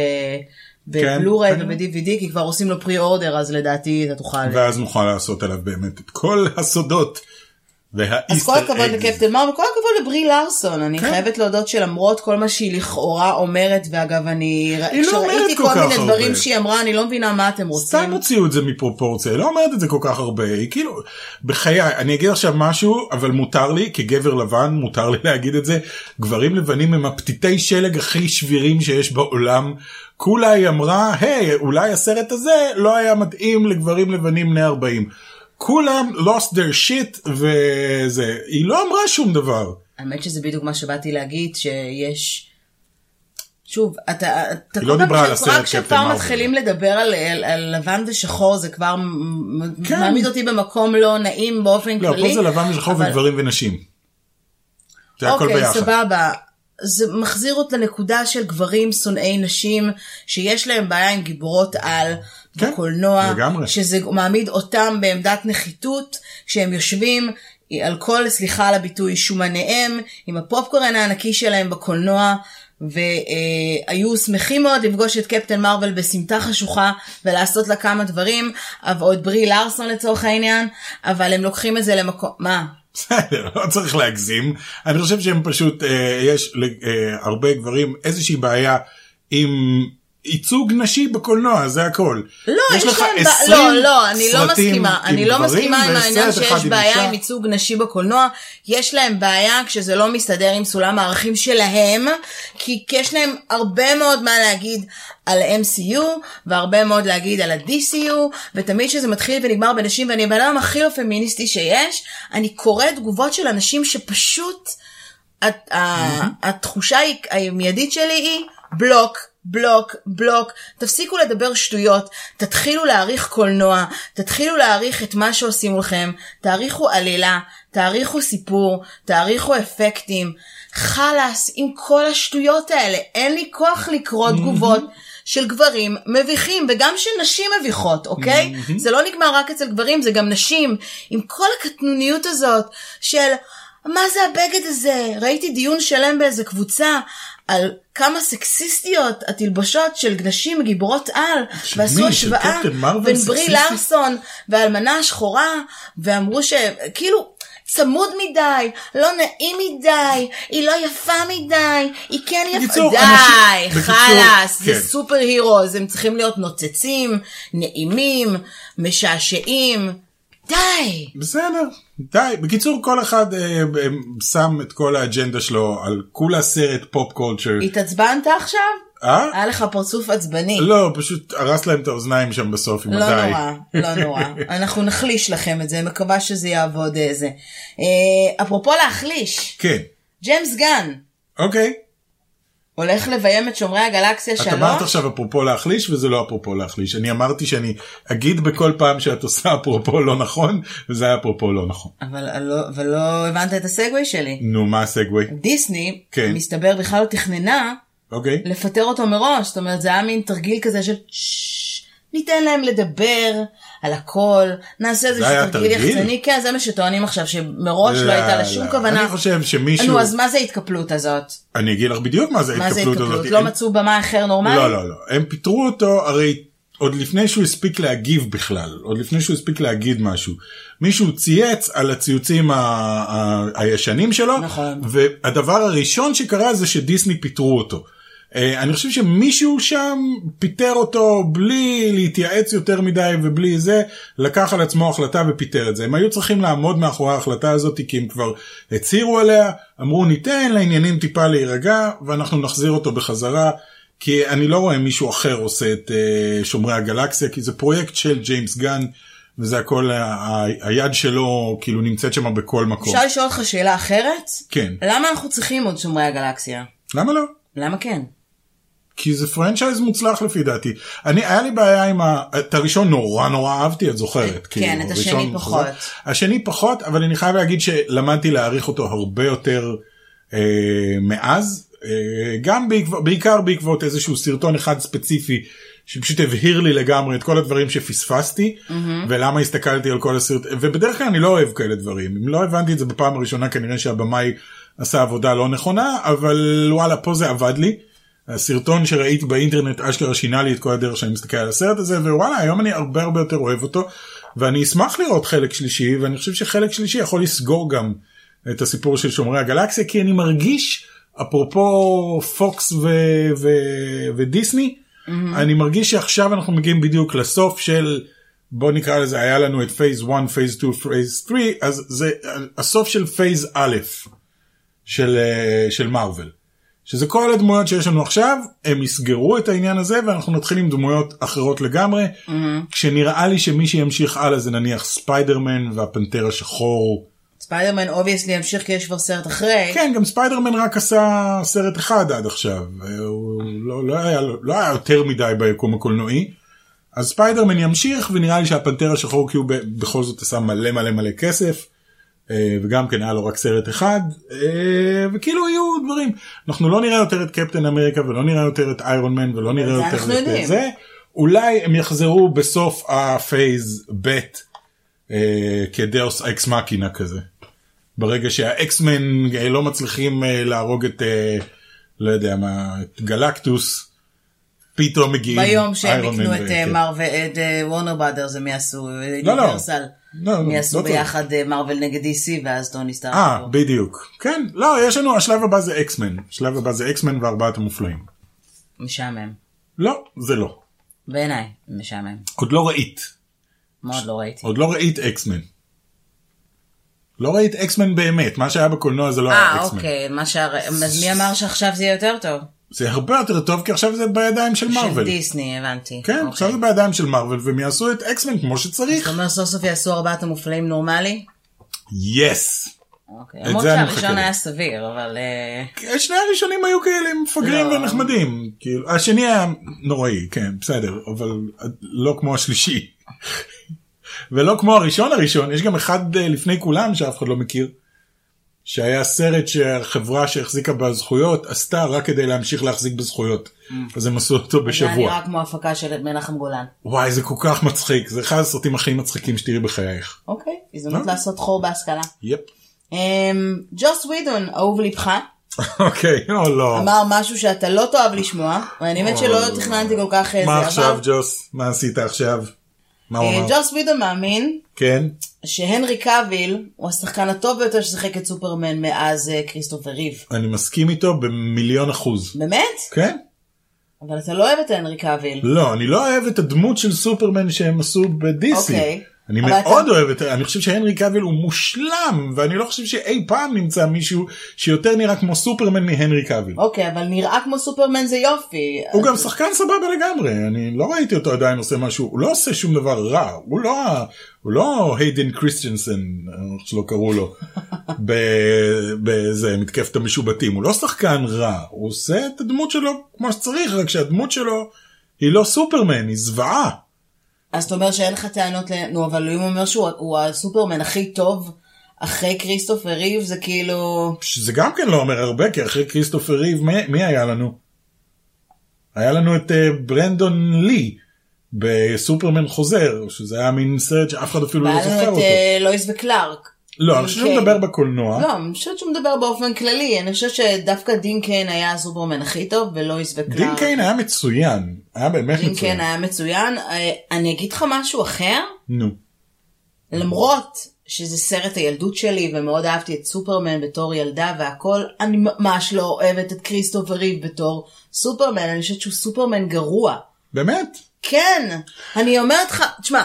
[SPEAKER 2] כן,
[SPEAKER 1] בבלוריי
[SPEAKER 2] כן.
[SPEAKER 1] וב-DVD כי כבר עושים לו פרי אורדר אז לדעתי אתה תוכל.
[SPEAKER 2] ואז נוכל לעשות עליו באמת את כל הסודות.
[SPEAKER 1] אז כל הכבוד לקפטן מרוויל וכל הכבוד לברי לארסון אני
[SPEAKER 2] כן.
[SPEAKER 1] חייבת להודות שלמרות כל מה שהיא לכאורה אומרת ואגב אני
[SPEAKER 2] היא לא אומרת
[SPEAKER 1] כשראיתי
[SPEAKER 2] כל
[SPEAKER 1] כל
[SPEAKER 2] כך
[SPEAKER 1] מיני
[SPEAKER 2] הרבה.
[SPEAKER 1] דברים שהיא אמרה אני לא מבינה מה אתם
[SPEAKER 2] סתם
[SPEAKER 1] רוצים.
[SPEAKER 2] הוציאו את זה מפרופורציה, היא לא אומרת את זה כל כך הרבה, היא כאילו, בחיי, אני אגיד עכשיו משהו, אבל מותר לי, כגבר לבן, מותר לי להגיד את זה, גברים לבנים הם הפתיתי שלג הכי שבירים שיש בעולם. כולה היא אמרה, היי, אולי הסרט הזה לא היה מתאים לגברים לבנים בני 40. כולם lost their shit וזה, היא לא אמרה שום דבר.
[SPEAKER 1] האמת שזה בדיוק מה שבאתי להגיד, שיש... שוב, אתה... אתה
[SPEAKER 2] היא לא
[SPEAKER 1] כל פעם-
[SPEAKER 2] דיברה על
[SPEAKER 1] רק
[SPEAKER 2] הסרט קפטן
[SPEAKER 1] כשכבר
[SPEAKER 2] מרוויל.
[SPEAKER 1] מתחילים לדבר על, על, על לבן ושחור, זה כבר מ- מ-
[SPEAKER 2] כן.
[SPEAKER 1] מעמיד אותי במקום לא נעים באופן
[SPEAKER 2] לא,
[SPEAKER 1] כללי.
[SPEAKER 2] פה זה לבן ושחור
[SPEAKER 1] אבל-
[SPEAKER 2] וגברים ונשים. זה הכל
[SPEAKER 1] אוקיי,
[SPEAKER 2] ביחד.
[SPEAKER 1] סבבה. זה מחזיר אותי לנקודה של גברים שונאי נשים, שיש להם בעיה עם גיבורות על.
[SPEAKER 2] כן,
[SPEAKER 1] בקולנוע,
[SPEAKER 2] לגמרי.
[SPEAKER 1] שזה מעמיד אותם בעמדת נחיתות, כשהם יושבים על כל, סליחה על הביטוי, שומניהם, עם הפופקורן הענקי שלהם בקולנוע, והיו שמחים מאוד לפגוש את קפטן מרוויל בסמטה חשוכה ולעשות לה כמה דברים, אבל- או את ברי לארסון לצורך העניין, אבל הם לוקחים את זה למקום, מה?
[SPEAKER 2] בסדר, לא צריך להגזים. אני חושב שהם פשוט, אה, יש להרבה גברים איזושהי בעיה עם ייצוג נשי בקולנוע, זה הכל.
[SPEAKER 1] לא, יש
[SPEAKER 2] לך
[SPEAKER 1] להם
[SPEAKER 2] 20
[SPEAKER 1] לא, לא, אני לא
[SPEAKER 2] סרטים
[SPEAKER 1] מסכימה.
[SPEAKER 2] עם
[SPEAKER 1] אני לא
[SPEAKER 2] גברים
[SPEAKER 1] מסכימה עם
[SPEAKER 2] וסרט
[SPEAKER 1] העניין
[SPEAKER 2] אחד
[SPEAKER 1] שיש בעיה
[SPEAKER 2] אישה.
[SPEAKER 1] עם ייצוג נשי בקולנוע. יש להם בעיה כשזה לא מסתדר עם סולם הערכים שלהם, כי יש להם הרבה מאוד מה להגיד על MCU, והרבה מאוד להגיד על ה-DCU, ותמיד כשזה מתחיל ונגמר בנשים, ואני הבן אדם הכי לא פמיניסטי שיש, אני קוראת תגובות של אנשים שפשוט... הת- ה- התחושה היא- המיידית שלי היא בלוק. בלוק, בלוק, תפסיקו לדבר שטויות, תתחילו להעריך קולנוע, תתחילו להעריך את מה שעושים מולכם, תעריכו עלילה, תעריכו סיפור, תעריכו אפקטים. חלאס עם כל השטויות האלה, אין לי כוח לקרוא תגובות של גברים מביכים, וגם של נשים מביכות, אוקיי? זה לא נגמר רק אצל גברים, זה גם נשים, עם כל הקטנוניות הזאת של... מה זה הבגד הזה? ראיתי דיון שלם באיזה קבוצה על כמה סקסיסטיות התלבשות של נשים גיבורות על,
[SPEAKER 2] של
[SPEAKER 1] ועשו
[SPEAKER 2] מי? של
[SPEAKER 1] השוואה
[SPEAKER 2] קפטן מרוויל
[SPEAKER 1] בין ברי
[SPEAKER 2] סקסיסטית?
[SPEAKER 1] לארסון והאלמנה השחורה, ואמרו שכאילו... צמוד מדי, לא נעים מדי, היא לא יפה מדי, היא כן יפה,
[SPEAKER 2] בקיצור,
[SPEAKER 1] די,
[SPEAKER 2] אנשים-
[SPEAKER 1] חלאס,
[SPEAKER 2] בקיצור,
[SPEAKER 1] זה
[SPEAKER 2] כן.
[SPEAKER 1] סופר הירו, הם צריכים להיות נוצצים, נעימים, משעשעים, די!
[SPEAKER 2] בסדר, די. בקיצור, כל אחד אה, אה, שם את כל האג'נדה שלו על כולה סרט פופ קולצ'ר.
[SPEAKER 1] התעצבנת עכשיו?
[SPEAKER 2] אה?
[SPEAKER 1] היה לך פרצוף עצבני.
[SPEAKER 2] לא, פשוט הרס להם את האוזניים שם בסוף עם
[SPEAKER 1] לא
[SPEAKER 2] הדי.
[SPEAKER 1] נורא, לא נורא. אנחנו נחליש לכם את זה, מקווה שזה יעבוד אה, זה. אה, אפרופו להחליש,
[SPEAKER 2] כן,
[SPEAKER 1] ג'יימס גן
[SPEAKER 2] אוקיי.
[SPEAKER 1] הולך לביים את שומרי הגלקסיה
[SPEAKER 2] את אמרת
[SPEAKER 1] שלוש.
[SPEAKER 2] עכשיו אפרופו להחליש וזה לא אפרופו להחליש. אני אמרתי שאני אגיד בכל פעם שאת עושה אפרופו לא נכון וזה היה אפרופו לא נכון.
[SPEAKER 1] אבל אה, לא- אבל לא הבנת את הסגווי שלי.
[SPEAKER 2] נו מה הסגווי?
[SPEAKER 1] דיסני,
[SPEAKER 2] כן.
[SPEAKER 1] מסתבר, בכלל לא תכננה
[SPEAKER 2] אוקיי.
[SPEAKER 1] לפטר אותו מראש, זאת אומרת זה היה מין תרגיל כזה של "ששש, ניתן להם לדבר על הכל, נעשה איזה
[SPEAKER 2] זה היה
[SPEAKER 1] תרגיל
[SPEAKER 2] תרגיל?
[SPEAKER 1] יחצני, כן זה מה שטוענים עכשיו שמראש לא הייתה לה שום כוונה.
[SPEAKER 2] אני חושב שמישהו,
[SPEAKER 1] נו אז מה זה ההתקפלות הזאת?
[SPEAKER 2] אני אגיד לך בדיוק מה זה
[SPEAKER 1] מה זה
[SPEAKER 2] ההתקפלות הזאת.
[SPEAKER 1] התקפלות? לא מצאו במה אחר נורמלי?
[SPEAKER 2] לא, לא, לא. הם פיטרו אותו, הרי עוד לפני שהוא הספיק להגיב בכלל, עוד לפני שהוא הספיק להגיד משהו. מישהו צייץ על הציוצים ה- ה- הישנים שלו,
[SPEAKER 1] נכון.
[SPEAKER 2] והדבר הראשון שקרה זה שדיסני פיטרו אותו. אה, אני חושב שמישהו שם פיטר אותו בלי להתייעץ יותר מדי ובלי זה, לקח על עצמו החלטה ופיטר את זה. הם היו צריכים לעמוד מאחורי ההחלטה הזאת כי הם כבר הצהירו עליה, אמרו ניתן לעניינים טיפה להירגע ואנחנו נחזיר אותו בחזרה. כי אני לא רואה מישהו אחר עושה את אה, שומרי הגלקסיה, כי זה פרויקט של ג'יימס גן, וזה הכל, ה- ה- היד שלו כאילו נמצאת שם בכל מקום.
[SPEAKER 1] אפשר לשאול אותך שאלה אחרת?
[SPEAKER 2] כן.
[SPEAKER 1] למה אנחנו צריכים עוד שומרי הגלקסיה?
[SPEAKER 2] למה לא?
[SPEAKER 1] למה כן?
[SPEAKER 2] כי זה פרנצ'ייז מוצלח לפי דעתי. אני, היה לי בעיה עם ה... את הראשון נורא נורא אהבתי, את זוכרת. כאילו,
[SPEAKER 1] כן, את השני
[SPEAKER 2] ראשון
[SPEAKER 1] פחות.
[SPEAKER 2] חזק. השני פחות, אבל אני חייב להגיד שלמדתי להעריך אותו הרבה יותר אה, מאז. אה, גם בעקב, בעיקר בעקבות איזשהו סרטון אחד ספציפי שפשוט הבהיר לי לגמרי את כל הדברים שפספסתי mm-hmm. ולמה הסתכלתי על כל הסרט ובדרך כלל אני לא אוהב כאלה דברים אם לא הבנתי את זה בפעם הראשונה כנראה שהבמאי עשה עבודה לא נכונה אבל וואלה פה זה עבד לי. הסרטון שראיתי באינטרנט אשכרה שינה לי את כל הדרך שאני מסתכל על הסרט הזה ווואלה היום אני הרבה הרבה יותר אוהב אותו ואני אשמח לראות חלק שלישי ואני חושב שחלק שלישי יכול לסגור גם את הסיפור של שומרי הגלקסיה כי אני מרגיש אפרופו פוקס ו- ו- ודיסני אני מרגיש שעכשיו אנחנו מגיעים בדיוק לסוף של בוא נקרא לזה היה לנו את פייס 1 פייס 2 פייס 3 אז זה הסוף של פייס א' של אה, של מארוול. שזה כל הדמויות שיש לנו עכשיו, הם יסגרו את העניין הזה ואנחנו נתחיל עם דמויות אחרות לגמרי, mm-hmm. כשנראה לי שמי שימשיך הלאה זה נניח ספיידרמן והפנתר השחור.
[SPEAKER 1] ספיידרמן אובייסלי ימשיך כי יש כבר סרט אחרי.
[SPEAKER 2] כן, גם ספיידרמן רק עשה סרט אחד עד עכשיו, אה, הוא לא, לא, היה, לא היה יותר מדי ביקום הקולנועי. אז ספיידרמן ימשיך ונראה לי שהפנתר השחור כי הוא ב- בכל זאת עשה מלא מלא מלא כסף. אה, וגם כן היה לו רק סרט אחד אה, וכאילו יהיו דברים אנחנו לא נראה יותר את קפטן אמריקה ולא נראה יותר את איירון מן ולא נראה
[SPEAKER 1] זה
[SPEAKER 2] יותר
[SPEAKER 1] אנחנו
[SPEAKER 2] את אה,
[SPEAKER 1] יודעים.
[SPEAKER 2] זה אולי הם יחזרו בסוף הפייז ב' אה, כדאוס אקס מקינה כזה ברגע שהאקסמן אה, לא מצליחים אה, להרוג את אה, לא יודע מה את גלקטוס. פתאום מגיעים
[SPEAKER 1] ביום שהם
[SPEAKER 2] איירון
[SPEAKER 1] יקנו
[SPEAKER 2] מן
[SPEAKER 1] את
[SPEAKER 2] ו-
[SPEAKER 1] אה,
[SPEAKER 2] כן.
[SPEAKER 1] מר ואת אה, וורנר בראדרס הם יעשו, אה,
[SPEAKER 2] לא.
[SPEAKER 1] יוניברסל,
[SPEAKER 2] לא, לא,
[SPEAKER 1] הם
[SPEAKER 2] לא
[SPEAKER 1] יעשו
[SPEAKER 2] צריך.
[SPEAKER 1] ביחד אה, מרוויל נגד DC ואז טוני סטארק.
[SPEAKER 2] אה,
[SPEAKER 1] פה.
[SPEAKER 2] בדיוק. כן, לא, יש לנו, השלב הבא זה אקסמן. השלב הבא זה אקסמן וארבעת המופלאים.
[SPEAKER 1] משעמם.
[SPEAKER 2] לא, זה לא.
[SPEAKER 1] בעיניי, משעמם.
[SPEAKER 2] עוד לא ראית.
[SPEAKER 1] מאוד לא ראיתי.
[SPEAKER 2] עוד לא ראית אקסמן. לא ראית אקסמן באמת, מה שהיה בקולנוע זה לא היה
[SPEAKER 1] אה,
[SPEAKER 2] אקסמן.
[SPEAKER 1] אוקיי, מה שהר... אז מי אמר שעכשיו זה יהיה יותר טוב?
[SPEAKER 2] זה הרבה יותר טוב, כי עכשיו זה בידיים של
[SPEAKER 1] של
[SPEAKER 2] מארוול.
[SPEAKER 1] דיסני, הבנתי. אוקיי.
[SPEAKER 2] כן, עכשיו זה בידיים של מארוול, והם יעשו את אקסמן כמו
[SPEAKER 1] אתה
[SPEAKER 2] שצריך.
[SPEAKER 1] אומר סוף סוף יעשו ארבעת המופלאים נורמלי?
[SPEAKER 2] יס.
[SPEAKER 1] אוקיי.
[SPEAKER 2] את
[SPEAKER 1] למרות
[SPEAKER 2] זה אני
[SPEAKER 1] שהראשון
[SPEAKER 2] מחכה.
[SPEAKER 1] היה סביר, אבל... אה,
[SPEAKER 2] שני הראשונים היו כאלה מפגרים
[SPEAKER 1] לא.
[SPEAKER 2] ונחמדים. כאילו, השני היה נוראי, כן, בסדר, אבל לא כמו השלישי. ולא כמו הראשון הראשון, יש גם אחד אה, לפני כולם שאף אחד לא מכיר, שהיה סרט שהחברה שהחזיקה בזכויות עשתה רק כדי להמשיך להחזיק בזכויות. אז הם עשו אותו
[SPEAKER 1] Mm. זה היה
[SPEAKER 2] בשבוע.
[SPEAKER 1] נראה כמו הפקה של מנחם גולן.
[SPEAKER 2] וואי, זה כל כך מצחיק, זה אחד הסרטים הכי מצחיקים שתראי בחייך.
[SPEAKER 1] אוקיי, הזדמנות
[SPEAKER 2] אוקיי.
[SPEAKER 1] לעשות חור בהשכלה.
[SPEAKER 2] יפ.
[SPEAKER 1] אמ, ג'וס ווידון, אהוב לבך,
[SPEAKER 2] אוקיי, או לא.
[SPEAKER 1] אמר משהו שאתה לא תאהב לשמוע, ואני האמת שלא תכננתי כל כך אה, איזה,
[SPEAKER 2] מה
[SPEAKER 1] אבל-
[SPEAKER 2] עכשיו, ג'וס? מה עשית עכשיו? מה הוא
[SPEAKER 1] אה,
[SPEAKER 2] אמר?
[SPEAKER 1] ג'וס ווידון מאמין
[SPEAKER 2] כן?
[SPEAKER 1] שהנרי קאביל הוא השחקן הטוב ביותר ששיחק את סופרמן מאז אה, כריסטופר ריב.
[SPEAKER 2] אני מסכים איתו במיליון אחוז.
[SPEAKER 1] באמת?
[SPEAKER 2] כן?
[SPEAKER 1] אבל אתה לא אוהב את הנרי קאביל.
[SPEAKER 2] לא, אני לא אוהב את הדמות של סופרמן שהם עשו בדיסי.
[SPEAKER 1] אוקיי.
[SPEAKER 2] אני
[SPEAKER 1] אבל
[SPEAKER 2] מאוד
[SPEAKER 1] אתה-
[SPEAKER 2] אוהב את, אני חושב שהנרי קאביל הוא מושלם, ואני לא חושב שאי פעם נמצא מישהו שיותר נראה כמו סופרמן מהנרי קאביל.
[SPEAKER 1] אוקיי, אבל נראה כמו סופרמן זה יופי.
[SPEAKER 2] הוא
[SPEAKER 1] אז-
[SPEAKER 2] גם שחקן סבבה לגמרי, אני לא ראיתי אותו עדיין עושה משהו, הוא לא עושה שום דבר רע, הוא לא, ה- הוא לא היידן קריסטנסן, איך שלא קראו לו, ב- באיזה מתקפת המשובטים, הוא לא שחקן רע, הוא עושה את הדמות שלו כמו שצריך, רק שהדמות שלו היא לא סופרמן, היא זוועה.
[SPEAKER 1] אז אתה אומר שאין לך טענות ל... נו, אבל אם הוא אומר שהוא הוא הסופרמן הכי טוב אחרי כריסטופר ריב, זה כאילו...
[SPEAKER 2] שזה גם כן לא אומר הרבה, כי אחרי כריסטופר ריב, מי, מי היה לנו? היה לנו את אה, ברנדון לי בסופרמן חוזר, שזה היה מין סרט שאף אחד אפילו לא
[SPEAKER 1] והיה
[SPEAKER 2] זוכר
[SPEAKER 1] לנו את
[SPEAKER 2] אותו. אה?
[SPEAKER 1] אה, לואיס וקלארק.
[SPEAKER 2] לא, אני חושב שהוא
[SPEAKER 1] אוקיי.
[SPEAKER 2] מדבר בקולנוע.
[SPEAKER 1] לא, אני חושבת שהוא מדבר באופן כללי, אני חושבת שדווקא דין קיין היה הסופרמן הכי טוב, ולואיס וקלארק.
[SPEAKER 2] דין קיין היה מצוין, היה באמת
[SPEAKER 1] לא. דין
[SPEAKER 2] מצוין.
[SPEAKER 1] קיין כן, היה מצוין. אה, אני אגיד לך משהו אחר,
[SPEAKER 2] נו,
[SPEAKER 1] למרות שזה סרט הילדות שלי, ומאוד אהבתי את סופרמן בתור ילדה והכל, אני ממש לא אוהבת את כריסטופר ריב בתור סופרמן, אני חושבת שהוא סופרמן גרוע.
[SPEAKER 2] באמת?
[SPEAKER 1] כן, אני אומרת לך, תשמע,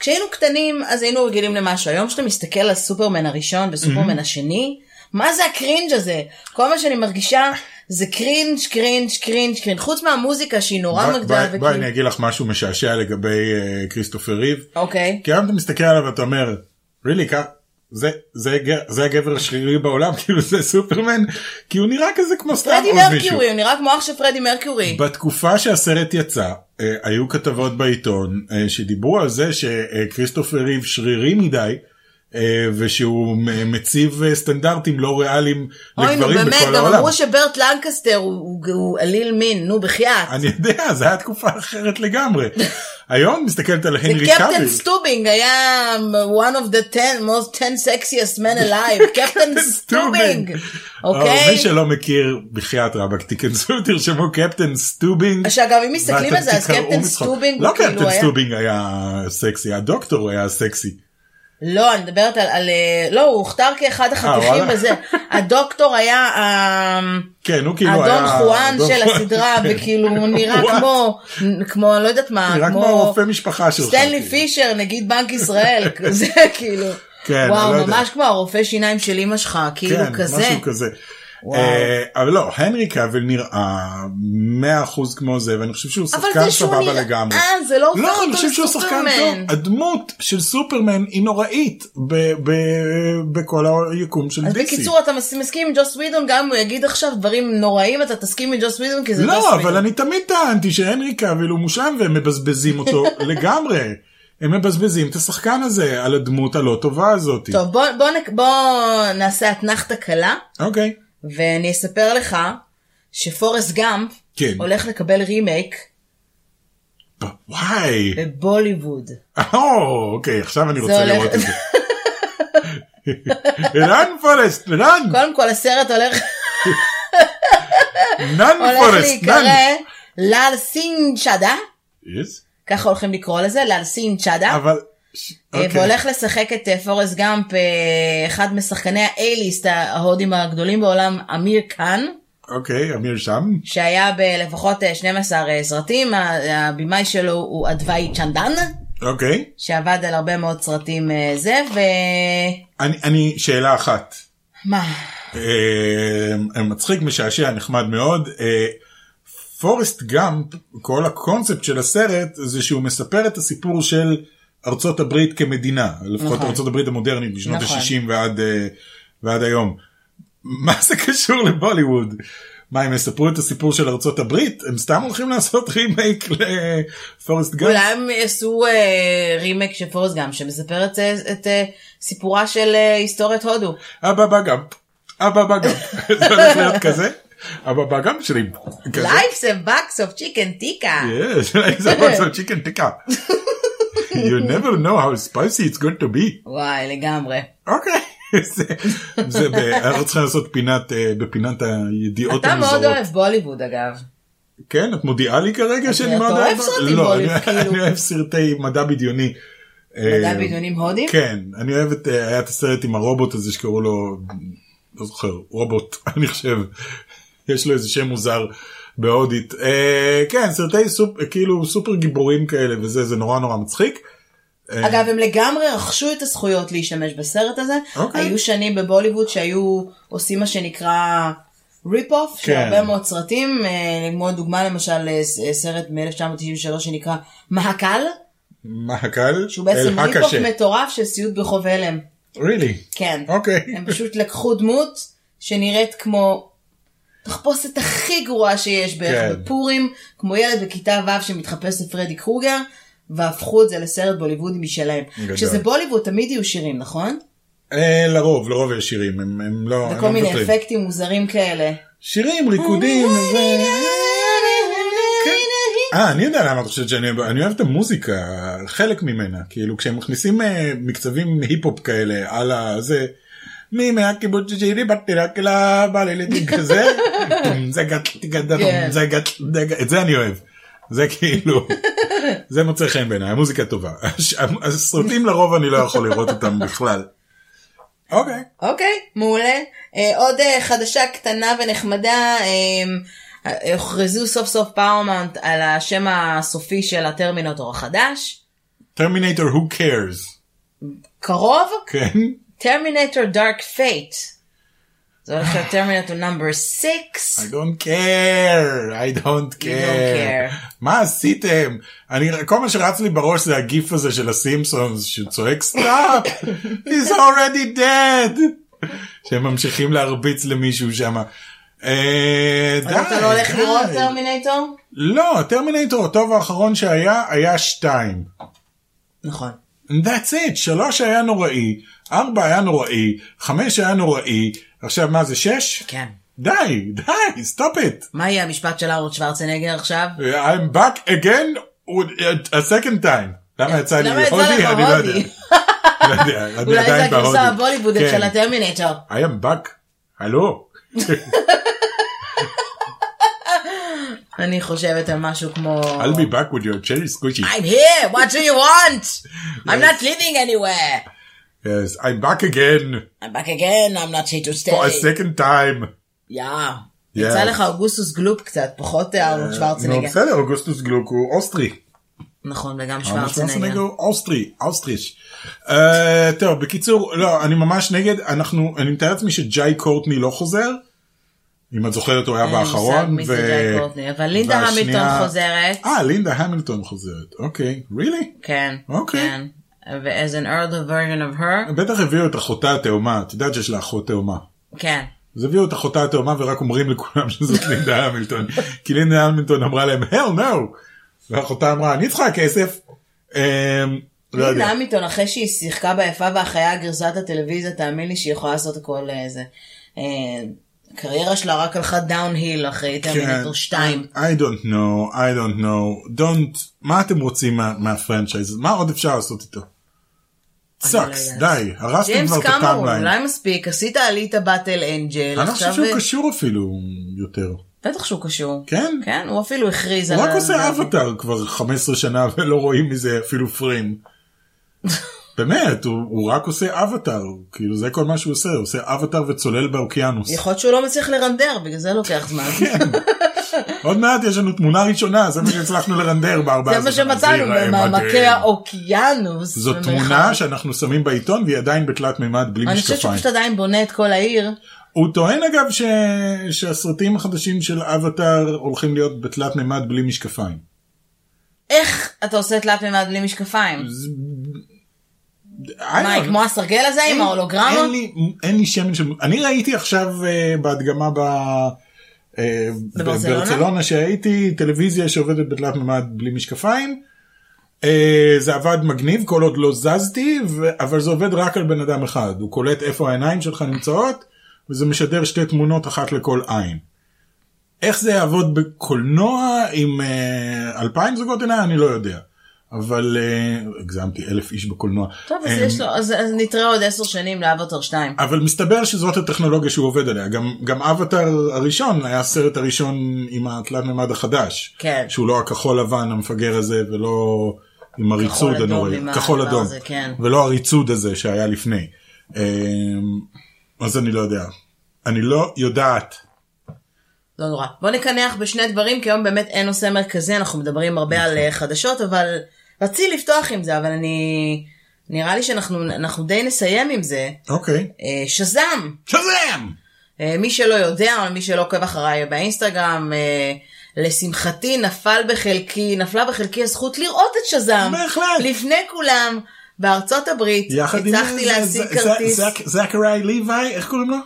[SPEAKER 1] כשהיינו קטנים אז היינו רגילים למשהו, היום כשאתה מסתכל על סופרמן הראשון וסופרמן
[SPEAKER 2] Mhm.
[SPEAKER 1] השני, מה זה הקרינג' הזה? כל מה שאני מרגישה זה קרינג', קרינג', קרינג', קרינג', חוץ מהמוזיקה שהיא נורא
[SPEAKER 2] בואי-
[SPEAKER 1] מגדלה
[SPEAKER 2] בואי- בואי
[SPEAKER 1] וכאילו...
[SPEAKER 2] אני אגיד לך משהו משעשע לגבי אה, כריסטופר ריב.
[SPEAKER 1] אוקיי.
[SPEAKER 2] כי היום אתה מסתכל עליו ואתה אומר, really, כ- זה, זה, הגר- זה הגבר השרירי בעולם, כאילו זה סופרמן, כי הוא נראה כזה כמו סתם
[SPEAKER 1] פרדי
[SPEAKER 2] עוד מישהו.
[SPEAKER 1] מרקיורי, לא הוא נראה כמו אח של פרדי מרקיורי.
[SPEAKER 2] בתקופה שהסרט יצא, אה, היו כתבות בעיתון אה, שדיברו על זה שכריסטופר ריב שרירי מדי. אה, ושהוא מ- מציב אה, סטנדרטים לא ריאליים
[SPEAKER 1] אוי נו
[SPEAKER 2] לגברים
[SPEAKER 1] באמת,
[SPEAKER 2] בכל
[SPEAKER 1] גם
[SPEAKER 2] העולם.
[SPEAKER 1] אמרו שברט לנקסטר הוא- הוא הוא עליל מין, נו בחייאת.
[SPEAKER 2] אני יודע, זו הייתה תקופה אחרת לגמרי. היום מסתכלת על הנרי
[SPEAKER 1] וקפטן
[SPEAKER 2] קאביל.
[SPEAKER 1] סטובינג היה one of the 10 most 10 sexiest men alive, קפטן סטובינג,
[SPEAKER 2] אבל אה, מי
[SPEAKER 1] אוקיי?
[SPEAKER 2] שלא מכיר, בחייאת רבאק, תיכנסו, תרשמו קפטן סטובינג.
[SPEAKER 1] שאגב אם מסתכלים
[SPEAKER 2] ואתם
[SPEAKER 1] על זה אז
[SPEAKER 2] תתקרעו
[SPEAKER 1] קפטן
[SPEAKER 2] מצחוק.
[SPEAKER 1] סטובינג
[SPEAKER 2] לא
[SPEAKER 1] הוא כאילו
[SPEAKER 2] קפטן
[SPEAKER 1] היה...
[SPEAKER 2] סטובינג היה סקסי, הדוקטור היה סקסי.
[SPEAKER 1] לא אני מדברת על- על... אה, לא הוא הוכתר כאחד החתיכים
[SPEAKER 2] אה, וואלה.
[SPEAKER 1] בזה. הדוקטור היה ה-
[SPEAKER 2] כן, הוא כאילו היה...
[SPEAKER 1] האדון חואן
[SPEAKER 2] האדון
[SPEAKER 1] של
[SPEAKER 2] חואן.
[SPEAKER 1] הסדרה
[SPEAKER 2] כן.
[SPEAKER 1] וכאילו הוא נראה
[SPEAKER 2] חואן.
[SPEAKER 1] כמו, כמו לא יודעת מה,
[SPEAKER 2] נראה כמו רופא משפחה שלך.
[SPEAKER 1] סטנלי
[SPEAKER 2] כאילו.
[SPEAKER 1] פישר נגיד בנק ישראל, זה כאילו.
[SPEAKER 2] כן, אני לא
[SPEAKER 1] וואו
[SPEAKER 2] יודע.
[SPEAKER 1] ממש כמו הרופא שיניים של אמא שלך, כאילו
[SPEAKER 2] כן,
[SPEAKER 1] כזה.
[SPEAKER 2] משהו כזה.
[SPEAKER 1] וואו.
[SPEAKER 2] אה, אבל לא, הנרי קאביל נראה 100% כמו זה, ואני חושב שהוא שחקן סבבה לגמרי.
[SPEAKER 1] אה, זה לא הופך
[SPEAKER 2] לא, אני
[SPEAKER 1] אותו
[SPEAKER 2] חושב שהוא שחקן טוב.
[SPEAKER 1] לסופרמן.
[SPEAKER 2] הדמות של סופרמן היא נוראית ב- ב- בכל היקום של DC.
[SPEAKER 1] אז בקיצור אתה מס- מסכים עם ג'וס ווידון גם אם הוא יגיד עכשיו דברים נוראים אתה תסכים עם ג'וס ווידון כי זה ג'וס
[SPEAKER 2] לא,
[SPEAKER 1] ווידון.
[SPEAKER 2] אבל אני תמיד טענתי שהנרי קאביל הוא מושלם והם מבזבזים אותו לגמרי. הם מבזבזים את השחקן הזה על הדמות הלא טובה הזאת.
[SPEAKER 1] טוב בוא, בוא, נק- בוא נעשה אתנחתא קלה
[SPEAKER 2] אוקיי.
[SPEAKER 1] ואני אספר לך שפורסט גאמפ
[SPEAKER 2] כן.
[SPEAKER 1] הולך לקבל רימייק
[SPEAKER 2] ב-
[SPEAKER 1] אה,
[SPEAKER 2] וואי.
[SPEAKER 1] בבוליווד.
[SPEAKER 2] או, אוקיי, עכשיו אני רוצה
[SPEAKER 1] הולך-
[SPEAKER 2] לראות את זה. רן פורסט, רן,
[SPEAKER 1] קודם כל הסרט הולך,
[SPEAKER 2] נן
[SPEAKER 1] הולך
[SPEAKER 2] פורסט,
[SPEAKER 1] להיקרא
[SPEAKER 2] נן.
[SPEAKER 1] לאל סין צ'אדה
[SPEAKER 2] Yes.
[SPEAKER 1] ככה הולכים לקרוא לזה לאל סין צ'אדה.
[SPEAKER 2] אבל, ש-
[SPEAKER 1] אה,
[SPEAKER 2] אוקיי.
[SPEAKER 1] והולך לשחק את אה, פורסט גאמפ, אה, אחד משחקני האייליסט ההודים הגדולים בעולם, אמיר קאן,
[SPEAKER 2] אוקיי, אמיר שם.
[SPEAKER 1] שהיה בלפחות אה, 12 אה, סרטים, ה- הבמאי שלו הוא אדוואי צ'נדן,
[SPEAKER 2] אוקיי.
[SPEAKER 1] שעבד על הרבה מאוד סרטים אה, זה, ו...
[SPEAKER 2] אני- אני, שאלה אחת.
[SPEAKER 1] מה?
[SPEAKER 2] אה, מצחיק, משעשע, נחמד מאוד. אה, פורסט גאמפ, כל הקונספט של הסרט זה שהוא מספר את הסיפור של ארצות הברית כמדינה, לפחות
[SPEAKER 1] נכון.
[SPEAKER 2] ארצות הברית המודרנית משנות
[SPEAKER 1] נכון.
[SPEAKER 2] ה-60 ועד, אה, ועד היום. מה זה קשור לבוליווד? מה הם יספרו את הסיפור של ארצות הברית? הם סתם הולכים לעשות רימייק לפורסט גאמפ?
[SPEAKER 1] אולי הם יעשו אה, רימק של פורסט גאמפ, שמספר את, אה, את אה, סיפורה של אה, היסטוריית הודו.
[SPEAKER 2] אבא בגאמפ, אבא בגאמפ, זה הולך להיות כזה? אבא בגאמפ שלי. כזה. כן.
[SPEAKER 1] Life's a box of chicken tikka.
[SPEAKER 2] Yes, it's a box of chicken tikka. you never know how spicy it's going to be.
[SPEAKER 1] וואי, לגמרי.
[SPEAKER 2] אוקיי. זה, זה ב- אנחנו צריכים לעשות פינת, אה, בפינת הידיעות
[SPEAKER 1] אתה
[SPEAKER 2] המוזרות.
[SPEAKER 1] מאוד אוהב בוליווד אגב.
[SPEAKER 2] כן, את מודיעה לי כרגע שאני
[SPEAKER 1] אתה
[SPEAKER 2] מאוד
[SPEAKER 1] אוהב
[SPEAKER 2] אוהב?
[SPEAKER 1] סרטים
[SPEAKER 2] לא,
[SPEAKER 1] בוליווד,
[SPEAKER 2] אני-
[SPEAKER 1] כאילו.
[SPEAKER 2] אני אוהב סרטי מדע בדיוני.
[SPEAKER 1] מדע
[SPEAKER 2] אה,
[SPEAKER 1] בדיונים הודים?
[SPEAKER 2] כן, אני אוהב את, אה, היה את הסרט עם הרובוט הזה שקראו לו, לא זוכר, רובוט, אני חושב, יש לו איזה שם מוזר בהודית. אה, כן, סרטי סופ, כאילו סופר גיבורים כאלה וזה, זה נורא נורא מצחיק.
[SPEAKER 1] אגב, הם לגמרי רכשו את הזכויות להשתמש בסרט הזה.
[SPEAKER 2] אוקיי.
[SPEAKER 1] היו שנים בבוליווד שהיו עושים מה שנקרא ריפ אוף, של
[SPEAKER 2] כן.
[SPEAKER 1] הרבה מאוד סרטים, אה, כמו דוגמה למשל אה, ס- אה, סרט מ-1993 שנקרא מהקל,
[SPEAKER 2] מה הקל?
[SPEAKER 1] שהוא בעצם
[SPEAKER 2] אל
[SPEAKER 1] ריפ אוף
[SPEAKER 2] הקשה.
[SPEAKER 1] מטורף של סיוט בחוב הלם.
[SPEAKER 2] really?
[SPEAKER 1] כן.
[SPEAKER 2] אוקיי.
[SPEAKER 1] הם פשוט לקחו דמות שנראית כמו תחפושת הכי גרועה שיש בערך
[SPEAKER 2] כן.
[SPEAKER 1] בפורים, כמו ילד בכיתה ו' שמתחפש לפרדי קרוגר, והפכו את זה לסרט בוליוודי משלהם.
[SPEAKER 2] גדול.
[SPEAKER 1] כשזה בוליווד תמיד יהיו שירים, נכון?
[SPEAKER 2] אה, לרוב, לרוב יש שירים, הם, הם לא, הם
[SPEAKER 1] וכל
[SPEAKER 2] לא
[SPEAKER 1] מיני
[SPEAKER 2] מוותרים.
[SPEAKER 1] אפקטים מוזרים כאלה.
[SPEAKER 2] שירים, ריקודים, ו... כן. אה, אני יודע למה את חושבת שאני אוהב, אני אוהב את המוזיקה, חלק ממנה, כאילו כשהם מכניסים אה, מקצבים היפ-הופ כאלה על הזה, מי מהקיבוץ שלי באתי רק לה, בא לי לתי כזה, טום, זה גת, גת, טום,
[SPEAKER 1] כן.
[SPEAKER 2] זה גת, זה גת, את זה אני אוהב, זה כאילו, זה מוצא חן בעיניי, המוזיקה טובה, הש- הסרטים לרוב אני לא יכול לראות אותם בכלל. אוקיי,
[SPEAKER 1] אוקיי, מעולה. אה, עוד אה, חדשה קטנה ונחמדה, אה, אה, הוכרזו סוף סוף פאורמאונט על השם הסופי של הטרמינטור החדש.
[SPEAKER 2] טרמינטור, who cares,
[SPEAKER 1] קרוב,
[SPEAKER 2] כן?
[SPEAKER 1] טרמינטור דארק פייט. זה הולך להיות טרמינטור נאמבר 6.
[SPEAKER 2] I don't care, I don't care.
[SPEAKER 1] care.
[SPEAKER 2] מה עשיתם? אני, כל מה שרץ לי בראש זה הגיף הזה של הסימפסונס שצועק סטאפ, he's already dead. שהם ממשיכים להרביץ למישהו שם. אה, די,
[SPEAKER 1] אתה לא הולך
[SPEAKER 2] די.
[SPEAKER 1] לראות טרמינטור?
[SPEAKER 2] לא, טרמינטור הטוב האחרון שהיה, היה שתיים.
[SPEAKER 1] נכון.
[SPEAKER 2] That's it, שלוש היה נוראי, ארבע היה נוראי, חמש היה נוראי, עכשיו מה זה שש?
[SPEAKER 1] כן.
[SPEAKER 2] די, די, stop it.
[SPEAKER 1] מה יהיה המשפט של ארוד שוורצנגר עכשיו?
[SPEAKER 2] I'm back again with- a second time. למה יצא
[SPEAKER 1] כן.
[SPEAKER 2] לי
[SPEAKER 1] למה יצא לך
[SPEAKER 2] הודי? אני לא יודע.
[SPEAKER 1] הודי?
[SPEAKER 2] לא יודע, אני
[SPEAKER 1] אולי זה
[SPEAKER 2] עדיין בהודי.
[SPEAKER 1] הגרסה הבוליוודית
[SPEAKER 2] כן.
[SPEAKER 1] של הטרמינטור.
[SPEAKER 2] I am back. הלו.
[SPEAKER 1] אני חושבת על משהו כמו...
[SPEAKER 2] I'll be back with your cherry squishy.
[SPEAKER 1] I'm here, what do you want? I'm not living anywhere.
[SPEAKER 2] Yes, I'm back again
[SPEAKER 1] I'm back again, I'm not here to
[SPEAKER 2] for a
[SPEAKER 1] stay.
[SPEAKER 2] second time.
[SPEAKER 1] יא.
[SPEAKER 2] Oh, Yes. אה,
[SPEAKER 1] יצא לך אוגוסטוס גלופ קצת, פחות ארנולד
[SPEAKER 2] נו,
[SPEAKER 1] שוורצנגר.
[SPEAKER 2] בסדר, אוגוסטוס גלוק הוא אוסטרי.
[SPEAKER 1] נכון, וגם
[SPEAKER 2] ממש
[SPEAKER 1] שוורצנגר.
[SPEAKER 2] שוורצנגר, אוסטרי, אוסטריש. Uh, טוב, בקיצור, לא, אני ממש נגד, אנחנו, אני מתאר לעצמי שג'יי קורטני לא חוזר. אם את זוכרת, הוא היה
[SPEAKER 1] אין לי מושג
[SPEAKER 2] באחרון.
[SPEAKER 1] מי
[SPEAKER 2] ו-
[SPEAKER 1] זה ג'יי קורטני, אבל לינדה
[SPEAKER 2] והשנייה-
[SPEAKER 1] המילטון חוזרת.
[SPEAKER 2] אה, לינדה המילטון חוזרת, אוקיי, really?
[SPEAKER 1] כן.
[SPEAKER 2] אוקיי.
[SPEAKER 1] כן. ו-as an older version of her.
[SPEAKER 2] בטח הביאו את אחותה התאומה, את יודעת שיש לה אחות תאומה.
[SPEAKER 1] כן.
[SPEAKER 2] אז הביאו את אחותה התאומה ורק אומרים לכולם שזאת לינדה המילטון. כי לינדה המילטון אמרה להם, hell no! ואחותה אמרה, אני צריכה כסף. אמ, לא יודע.
[SPEAKER 1] לינדה המילטון, אחרי שהיא שיחקה ביפה והחיה גרסת הטלוויזיה, תאמין לי שהיא יכולה לעשות הכל איזה. אה, הקריירה שלה רק הלכה דאון-היל אחרי
[SPEAKER 2] כן.
[SPEAKER 1] טרמינטור 2.
[SPEAKER 2] I don't know, I don't know, don't, מה אתם רוצים מה- מהפרנצ'ייז? מה עוד אפשר לעשות איתו? סאקס,
[SPEAKER 1] יודעת.
[SPEAKER 2] די, הרסתם
[SPEAKER 1] אה, ג'יימס
[SPEAKER 2] כבר לא את
[SPEAKER 1] קאמרון,
[SPEAKER 2] הטאמליין. אני
[SPEAKER 1] אולי מספיק, עשית עלית באטל אנג'ל,
[SPEAKER 2] לא חושב שהוא
[SPEAKER 1] אה,
[SPEAKER 2] קשור אפילו יותר.
[SPEAKER 1] בטח שהוא קשור.
[SPEAKER 2] כן?
[SPEAKER 1] כן, הוא אפילו הכריז
[SPEAKER 2] הוא רק
[SPEAKER 1] ה-
[SPEAKER 2] עושה אבטאר כבר 15 שנה ולא רואים מזה אפילו פריים. באמת, הוא, הוא רק עושה אבטאר, כאילו זה כל מה שהוא עושה, הוא עושה אבטאר וצולל באוקיינוס. כן.
[SPEAKER 1] יכול להיות שהוא לא מצליח לרנדר, בגלל זה לוקח זמן.
[SPEAKER 2] עוד מעט יש לנו תמונה ראשונה, זה מה שהצלחנו לרנדר בארבעה
[SPEAKER 1] זה מה שמצאנו במעמקי האוקיינוס.
[SPEAKER 2] זו
[SPEAKER 1] במרחב.
[SPEAKER 2] תמונה שאנחנו שמים בעיתון והיא עדיין בתלת מימד בלי
[SPEAKER 1] אני חושבת שהוא
[SPEAKER 2] משקפיים.
[SPEAKER 1] פשוט עדיין בונה את כל העיר.
[SPEAKER 2] הוא טוען אגב ש... שהסרטים החדשים של אבטאר הולכים להיות בתלת מימד בלי משקפיים.
[SPEAKER 1] איך אתה עושה תלת מימד בלי משקפיים?
[SPEAKER 2] I
[SPEAKER 1] מה,
[SPEAKER 2] don't
[SPEAKER 1] כמו הסרגל הזה עם
[SPEAKER 2] לא- אין-
[SPEAKER 1] ההולוגרמה?
[SPEAKER 2] אין לי, אין לי שמן של... אני ראיתי עכשיו אה, בהדגמה ב... אה,
[SPEAKER 1] בברצלונה?
[SPEAKER 2] בברצלונה שהייתי טלוויזיה שעובדת בתלת מימד בלי משקפיים. אה, זה עבד מגניב כל עוד לא זזתי ו... אבל זה עובד רק על בן אדם אחד הוא קולט איפה העיניים שלך נמצאות וזה משדר שתי תמונות אחת לכל עין. איך זה יעבוד בקולנוע עם אה, אלפיים זוגות עיניים אני לא יודע. אבל אה, הגזמתי אלף איש בקולנוע.
[SPEAKER 1] טוב, אז
[SPEAKER 2] אה,
[SPEAKER 1] יש לו, אז אז נתראה עוד עשר שנים לאבוטר 2.
[SPEAKER 2] אבל מסתבר שזאת הטכנולוגיה שהוא עובד עליה. גם, גם אבטאר הראשון היה הסרט הראשון עם התלת מימד החדש.
[SPEAKER 1] כן.
[SPEAKER 2] שהוא לא הכחול לבן המפגר הזה ולא עם הריצוד
[SPEAKER 1] אדום
[SPEAKER 2] הנוראי.
[SPEAKER 1] עם
[SPEAKER 2] כחול
[SPEAKER 1] הדבר
[SPEAKER 2] אדום.
[SPEAKER 1] הזה, כן.
[SPEAKER 2] ולא הריצוד הזה שהיה לפני. אמ, אז אני לא יודע. אני לא יודעת.
[SPEAKER 1] לא נורא.
[SPEAKER 2] נכון.
[SPEAKER 1] בוא נקנח בשני דברים, כי היום באמת אין נושא מרכזי, אנחנו מדברים הרבה על אה, חדשות, אבל רציתי לפתוח עם זה, אבל אני... נראה לי שאנחנו אנחנו די נסיים עם זה.
[SPEAKER 2] אוקיי.
[SPEAKER 1] אה, שזם!
[SPEAKER 2] שזם!
[SPEAKER 1] אה, מי שלא יודע, או מי שלא עוקב אחריי באינסטגרם, אה, לשמחתי נפל בחלקי, נפלה בחלקי הזכות לראות את שזם.
[SPEAKER 2] בהחלט.
[SPEAKER 1] לפני כולם, בארצות הברית,
[SPEAKER 2] יחד עם
[SPEAKER 1] הצלחתי
[SPEAKER 2] זה,
[SPEAKER 1] להשיג
[SPEAKER 2] זה-
[SPEAKER 1] כרטיס.
[SPEAKER 2] זה- זק- זקרי ליוואי, איך קוראים לו?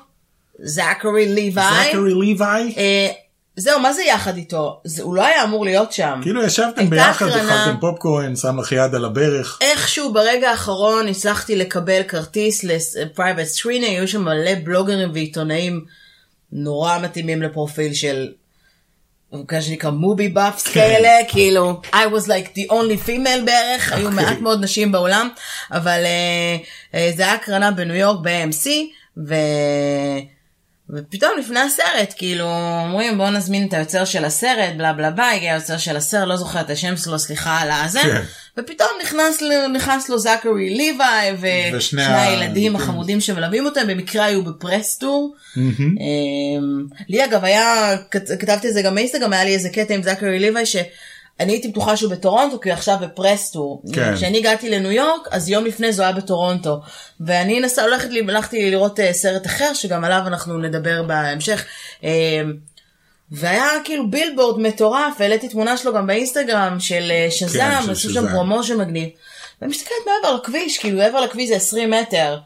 [SPEAKER 1] זכרי ליוואי.
[SPEAKER 2] זקרי ליוואי.
[SPEAKER 1] אה, זהו, מה זה יחד איתו? זה, הוא לא היה אמור להיות שם.
[SPEAKER 2] כאילו ישבתם
[SPEAKER 1] הייתה
[SPEAKER 2] ביחד,
[SPEAKER 1] הקרנה.
[SPEAKER 2] אכלתם פופקורן, שם לך יד על הברך.
[SPEAKER 1] איכשהו ברגע האחרון הצלחתי לקבל כרטיס לפרייבט סקרינר, היו שם מלא בלוגרים ועיתונאים נורא מתאימים לפרופיל של, מה שנקרא מובי באפס כאלה, כאילו, I was like the only female בערך, היו
[SPEAKER 2] אוקיי.
[SPEAKER 1] מעט מאוד נשים בעולם, אבל אה, אה, זה היה הקרנה בניו יורק ב-AMC, ו... ופתאום לפני הסרט, כאילו, אומרים בואו נזמין את היוצר של הסרט, בלה בלה בלה, הגיע היוצר של הסרט, לא זוכר את השם שלו, סליחה על הזה,
[SPEAKER 2] כן.
[SPEAKER 1] ופתאום נכנס, ל- נכנס לו זכרי ליוואי, ו-
[SPEAKER 2] ושני
[SPEAKER 1] ושני
[SPEAKER 2] ה-
[SPEAKER 1] הילדים החמודים שמלווים אותם, במקרה היו בפרסטור.
[SPEAKER 2] Mm-hmm.
[SPEAKER 1] אמ, לי אגב היה, כת- כתבתי את זה גם באינסטגרם, היה לי איזה קטע עם זכרי ליוואי, שאני הייתי בטוחה שהוא בטורונטו, כי הוא עכשיו בפרסטור.
[SPEAKER 2] כן.
[SPEAKER 1] כשאני הגעתי לניו יורק, אז יום לפני זה הוא היה בטורונטו. ואני נסע, הולכת, לי- הלכתי לראות אה, סרט אחר, שגם עליו אנחנו נדבר בהמשך. אמ, והיה כאילו בילבורד מטורף, העליתי תמונה שלו גם באינסטגרם של אה,
[SPEAKER 2] כן,
[SPEAKER 1] שזם,
[SPEAKER 2] של
[SPEAKER 1] עשו
[SPEAKER 2] שזם.
[SPEAKER 1] שם פרומושן מגניב. ואני מסתכלת מעבר לכביש, כאילו מעבר לכביש זה 20 מטר.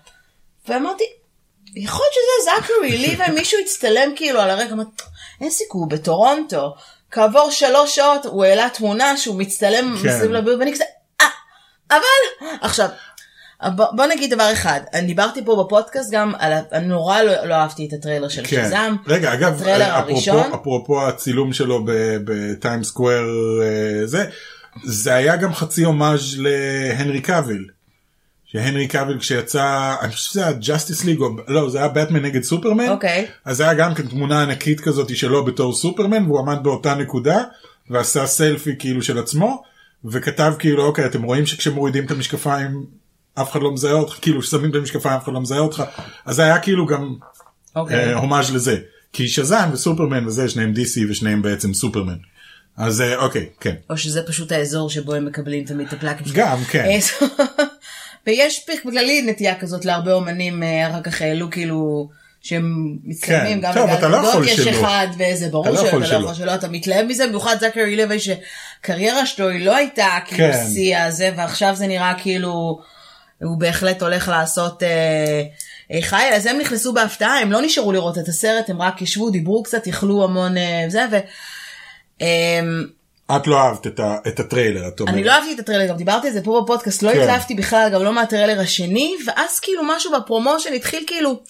[SPEAKER 1] ואמרתי, יכול להיות שזה זקרי, לי ומישהו הצטלם כאילו על הרקע, אמרתי, אין סיכוי, הוא בטורונטו. כעבור שלוש שעות הוא העלה תמונה שהוא מצטלם
[SPEAKER 2] כן.
[SPEAKER 1] מסביב לבריאות, ואני כזה, אה, אבל, עכשיו, בוא, בוא נגיד דבר אחד, אני דיברתי פה בפודקאסט גם על, ה- אני נורא לא, לא אהבתי את הטריילר של
[SPEAKER 2] כן.
[SPEAKER 1] שזם.
[SPEAKER 2] רגע, אגב,
[SPEAKER 1] הטריילר
[SPEAKER 2] אה,
[SPEAKER 1] הראשון.
[SPEAKER 2] אפרופו, אפרופו הצילום שלו בטיים סקוואר אה, זה, זה היה גם חצי הומאז' להנרי קאביל. שהנרי קאביל כשיצא, אני חושב שזה היה ג'סטיס ליג, לא, זה היה בטמן נגד סופרמן.
[SPEAKER 1] אוקיי.
[SPEAKER 2] אז זה היה גם כן תמונה ענקית כזאת שלו בתור סופרמן, והוא עמד באותה נקודה, ועשה סלפי כאילו של עצמו, וכתב כאילו, אוקיי, אתם רואים שכשמורידים את המשקפיים, אף אחד לא מזהה אותך, כאילו, כששמים את המשקפיים אף אחד לא מזהה אותך, אז זה היה כאילו גם
[SPEAKER 1] אוקיי.
[SPEAKER 2] אה, הומאז' לזה. כי שזן וסופרמן וזה, שניהם DC ושניהם בעצם סופרמן. אז אה, אוקיי, כן.
[SPEAKER 1] או שזה פשוט האזור שבו הם מקבלים תמיד את הפלאקים שלהם.
[SPEAKER 2] גם, כן.
[SPEAKER 1] אה, ויש בכללי נטייה כזאת להרבה אומנים אה, אחר כך העלו כאילו שהם מצטלמים
[SPEAKER 2] כן.
[SPEAKER 1] גם
[SPEAKER 2] טוב,
[SPEAKER 1] לגל
[SPEAKER 2] אתה לא
[SPEAKER 1] גדות
[SPEAKER 2] יכול
[SPEAKER 1] יש
[SPEAKER 2] שלא.
[SPEAKER 1] אחד וזה ברור
[SPEAKER 2] לא
[SPEAKER 1] שאתה
[SPEAKER 2] יכול
[SPEAKER 1] לא
[SPEAKER 2] שלא.
[SPEAKER 1] יכול שלא אתה מתלהב מזה במיוחד זכרי לוי שקריירה שלו היא לא הייתה כאילו
[SPEAKER 2] כן.
[SPEAKER 1] שיא הזה ועכשיו זה נראה כאילו הוא בהחלט הולך לעשות. אה, אה, חי, אז הם נכנסו בהפתעה, הם לא נשארו לראות את הסרט, הם רק ישבו, דיברו קצת, איכלו המון אה, זה, ו... אמ,
[SPEAKER 2] את לא אהבת את ה- את הטריילר, את אומרת.
[SPEAKER 1] אני לא אהבתי את הטריילר, גם דיברתי על זה פה בפודקאסט, לא
[SPEAKER 2] כן.
[SPEAKER 1] התלהבתי בכלל, גם לא מהטריילר השני, ואז כאילו משהו בפרומושן התחיל כאילו,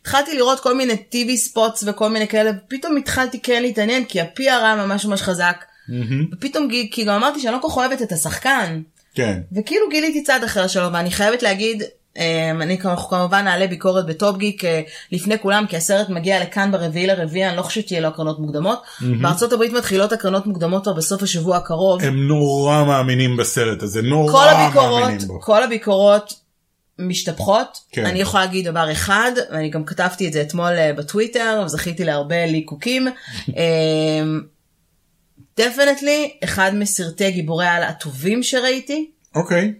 [SPEAKER 1] התחלתי לראות כל מיני TV ספוטס וכל מיני כאלה, ופתאום התחלתי כן להתעניין, כי ה-PR היה ממש ממש חזק. ופתאום גיל- כאילו אמרתי שאני לא כל כך אוהבת את השחקן,
[SPEAKER 2] כן.
[SPEAKER 1] וכאילו גיליתי צד אחר שלו, ואני חייבת להגיד, אמ, אני כמ- אנחנו כמובן נעלה ביקורת בטופ גיק אה, לפני כולם, כי הסרט מגיע לכאן ברביעי לרביעי, אני לא חושבת שיהיה לו הקרנות מוקדמות. בארצות הברית מתחילות הקרנות מוקדמות כבר בסוף השבוע הקרוב.
[SPEAKER 2] הם נורא מאמינים בסרט הזה, נורא
[SPEAKER 1] כל הביקורות,
[SPEAKER 2] מאמינים בו.
[SPEAKER 1] כל הביקורות משתפחות.
[SPEAKER 2] כן.
[SPEAKER 1] כן. אני יכולה להגיד דבר אחד, ואני גם כתבתי את זה אתמול אה, בטוויטר, וזכיתי להרבה ליקוקים. דפנטלי, אחד מסרטי גיבורי העל הטובים שראיתי,
[SPEAKER 2] אוקיי.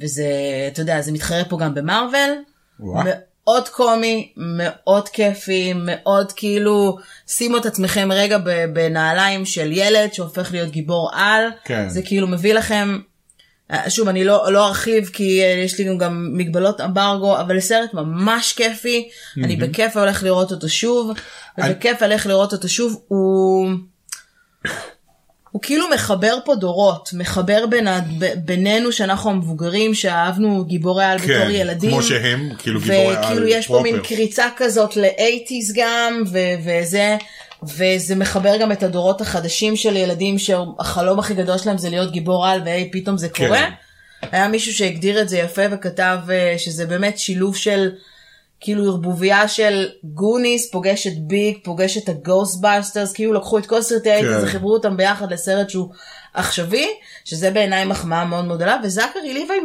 [SPEAKER 1] וזה, אתה יודע, זה מתחרה פה גם במרוויל.
[SPEAKER 2] וואו.
[SPEAKER 1] מאוד קומי, מאוד כיפי, מאוד כאילו, שימו את עצמכם רגע ב- בנעליים של ילד שהופך להיות גיבור על.
[SPEAKER 2] כן.
[SPEAKER 1] זה כאילו מביא לכם, אה, שוב, אני לא, לא ארחיב כי אה, יש לי גם- גם מגבלות אמברגו, אבל סרט ממש כיפי, אני בכיף הולך לראות אותו שוב, ובכיף הולך לראות אותו שוב, הוא... הוא כאילו מחבר פה דורות, מחבר בין ה... ב- בינינו שאנחנו המבוגרים שאהבנו גיבורי על
[SPEAKER 2] כן,
[SPEAKER 1] בתור ילדים.
[SPEAKER 2] כמו שהם, כאילו גיבורי על
[SPEAKER 1] וכאילו יש פה
[SPEAKER 2] פרופר.
[SPEAKER 1] מין קריצה כזאת ל-80's גם, ו- וזה, וזה מחבר גם את הדורות החדשים של ילדים שהחלום הכי גדול שלהם זה להיות גיבור על, והי פתאום זה קורה.
[SPEAKER 2] כן.
[SPEAKER 1] היה מישהו שהגדיר את זה יפה וכתב אה, שזה באמת שילוב של כאילו ערבוביה של גוניס פוגש את ביג פוגש את הגוסטבאסטרס כאילו לקחו את כל סרטי האייטיז
[SPEAKER 2] כן.
[SPEAKER 1] וחיברו אותם ביחד לסרט שהוא עכשווי שזה בעיניי מחמאה מאוד מאוד גדולה וזכרי ליווי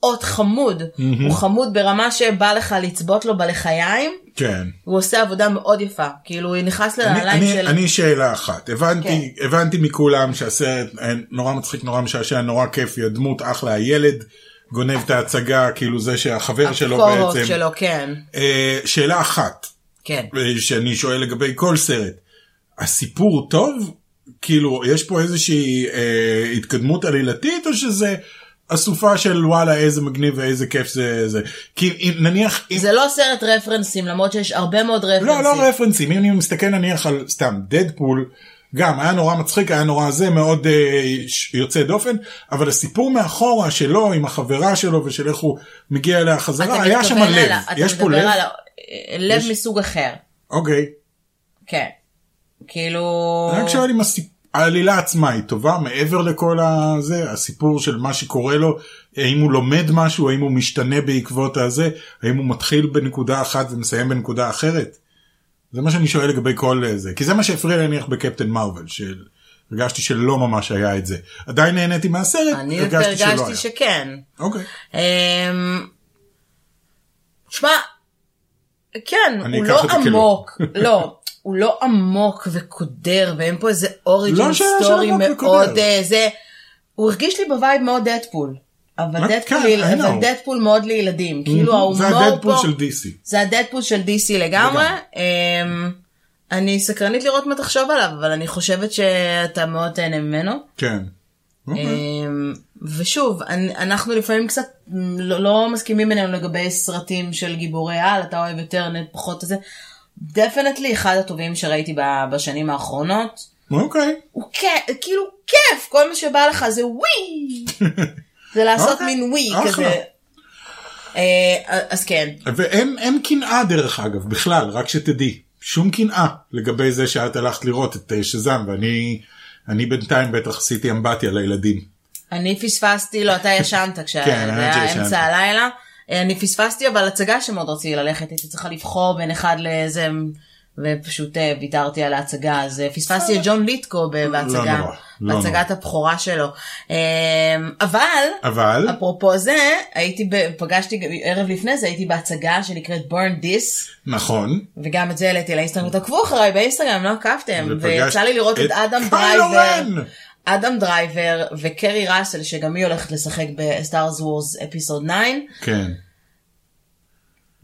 [SPEAKER 1] מאוד חמוד הוא חמוד ברמה שבא לך לצבות לו בלחיים.
[SPEAKER 2] כן.
[SPEAKER 1] הוא עושה עבודה מאוד יפה, כאילו הוא נכנס לנעליים
[SPEAKER 2] אני,
[SPEAKER 1] של...
[SPEAKER 2] אני שאלה אחת, הבנתי, כן. הבנתי מכולם שהסרט אה, נורא מצחיק, נורא משעשע, נורא כיפי, הדמות אחלה, הילד גונב את ההצגה, כאילו זה שהחבר שלו
[SPEAKER 1] הקורות
[SPEAKER 2] בעצם.
[SPEAKER 1] שלו, כן,
[SPEAKER 2] אה, שאלה אחת,
[SPEAKER 1] כן.
[SPEAKER 2] אה, שאני שואל לגבי כל סרט, הסיפור טוב? כאילו, יש פה איזושהי אה, התקדמות עלילתית, או שזה... אסופה של וואלה איזה מגניב ואיזה כיף זה זה כי אם נניח אם
[SPEAKER 1] זה לא סרט רפרנסים, למרות שיש הרבה מאוד רפרנסים.
[SPEAKER 2] לא, לא רפרנסים, אם אני מסתכל נניח על סתם דדפול, גם היה נורא מצחיק, היה נורא זה, מאוד אה, ש- יוצא דופן, אבל הסיפור מאחורה שלו עם החברה שלו ושל איך הוא מגיע אליה
[SPEAKER 1] אתה
[SPEAKER 2] חזרה, לא- היה שם
[SPEAKER 1] מתכוון
[SPEAKER 2] לב,
[SPEAKER 1] על ה-
[SPEAKER 2] יש פה לב?
[SPEAKER 1] אתה מדבר על ה- לב מסוג אחר,
[SPEAKER 2] אוקיי,
[SPEAKER 1] כן. כאילו...
[SPEAKER 2] רק שואל אם הסיפ- העלילה עצמה היא טובה מעבר לכל הזה, הסיפור של מה שקורה לו, האם הוא לומד משהו, האם הוא משתנה בעקבות הזה, האם הוא מתחיל בנקודה אחת ומסיים בנקודה אחרת. זה מה שאני שואל לגבי כל אה, זה, כי זה מה שהפריע לי נניח בקפטן מרוויל, שהרגשתי שלא ממש היה את זה. עדיין נהניתי מהסרט,
[SPEAKER 1] אני
[SPEAKER 2] הרגשתי שלא
[SPEAKER 1] הרגשתי
[SPEAKER 2] היה.
[SPEAKER 1] שכן.
[SPEAKER 2] אוקיי,
[SPEAKER 1] אמ, שמע, כן,
[SPEAKER 2] אני
[SPEAKER 1] הוא
[SPEAKER 2] אקח
[SPEAKER 1] לא
[SPEAKER 2] את זה כלא.
[SPEAKER 1] עמוק, לא, הוא לא עמוק וקודר, ואין פה איזה אוריג'ין
[SPEAKER 2] לא שאלה של
[SPEAKER 1] סטורי
[SPEAKER 2] עמוק
[SPEAKER 1] מאוד
[SPEAKER 2] וקודר.
[SPEAKER 1] אה, זה, הוא הרגיש לי בווייב מאוד דדפול, אבל
[SPEAKER 2] מה?
[SPEAKER 1] דדפול
[SPEAKER 2] כן,
[SPEAKER 1] ליל-
[SPEAKER 2] I know. Mm-hmm.
[SPEAKER 1] אבל דדפול מאוד לילדים, כאילו
[SPEAKER 2] זה
[SPEAKER 1] ההומור
[SPEAKER 2] הדדפול
[SPEAKER 1] פה,
[SPEAKER 2] של DC.
[SPEAKER 1] זה הדדפול של DC לגמרי, אמ, אני סקרנית לראות מה תחשוב עליו, אבל אני חושבת שאתה מאוד תהנה ממנו.
[SPEAKER 2] כן.
[SPEAKER 1] אמ, ושוב, אנ- אנחנו לפעמים קצת מ, לא, לא מסכימים בינינו לגבי סרטים של גיבורי על, אתה אוהב יותר, נט פחות את זה. דפנטלי אחד הטובים שראיתי ב- בשנים האחרונות.
[SPEAKER 2] אוקיי,
[SPEAKER 1] הוא כ- כאילו כיף, כל מה שבא לך זה ווי. זה לעשות
[SPEAKER 2] אוקיי,
[SPEAKER 1] מין ווי
[SPEAKER 2] אחלה.
[SPEAKER 1] כזה. אה, אז כן,
[SPEAKER 2] ואין אין קנאה דרך אגב בכלל רק שתדעי שום קנאה לגבי זה שאת הלכת לראות את אה, שזם ואני אני בינתיים בטח עשיתי אמבטיה לילדים.
[SPEAKER 1] אני פספסתי, לא, אתה ישנת כשהיה
[SPEAKER 2] כן, האמת
[SPEAKER 1] זה היה
[SPEAKER 2] שישנתי.
[SPEAKER 1] אמצע הלילה. אה, אני פספסתי, אבל הצגה שמאוד רציתי ללכת, הייתי צריכה לבחור בין אחד לאיזה, ופשוט אה, ויתרתי על ההצגה, אז אה, פספסתי את ג'ון ליטקו ב- בהצגה,
[SPEAKER 2] נורא, לא
[SPEAKER 1] בהצגת הבכורה שלו. אה, אבל,
[SPEAKER 2] אבל
[SPEAKER 1] אפרופו זה, הייתי, ב- פגשתי, גם- ערב לפני זה הייתי בהצגה שנקראת Burn This. נכון. וגם את זה העליתי לאינסטגרם, תעקבו אחריי באינסטגרם, לא עקבתם,
[SPEAKER 2] ופגשת
[SPEAKER 1] ויצא לי לראות את
[SPEAKER 2] Mm. את
[SPEAKER 1] אדם
[SPEAKER 2] קייל
[SPEAKER 1] דרייבר,
[SPEAKER 2] אורן.
[SPEAKER 1] אדם דרייבר וקרי ראסל, שגם היא הולכת לשחק בסטארס וורס אפיסוד 9,
[SPEAKER 2] כן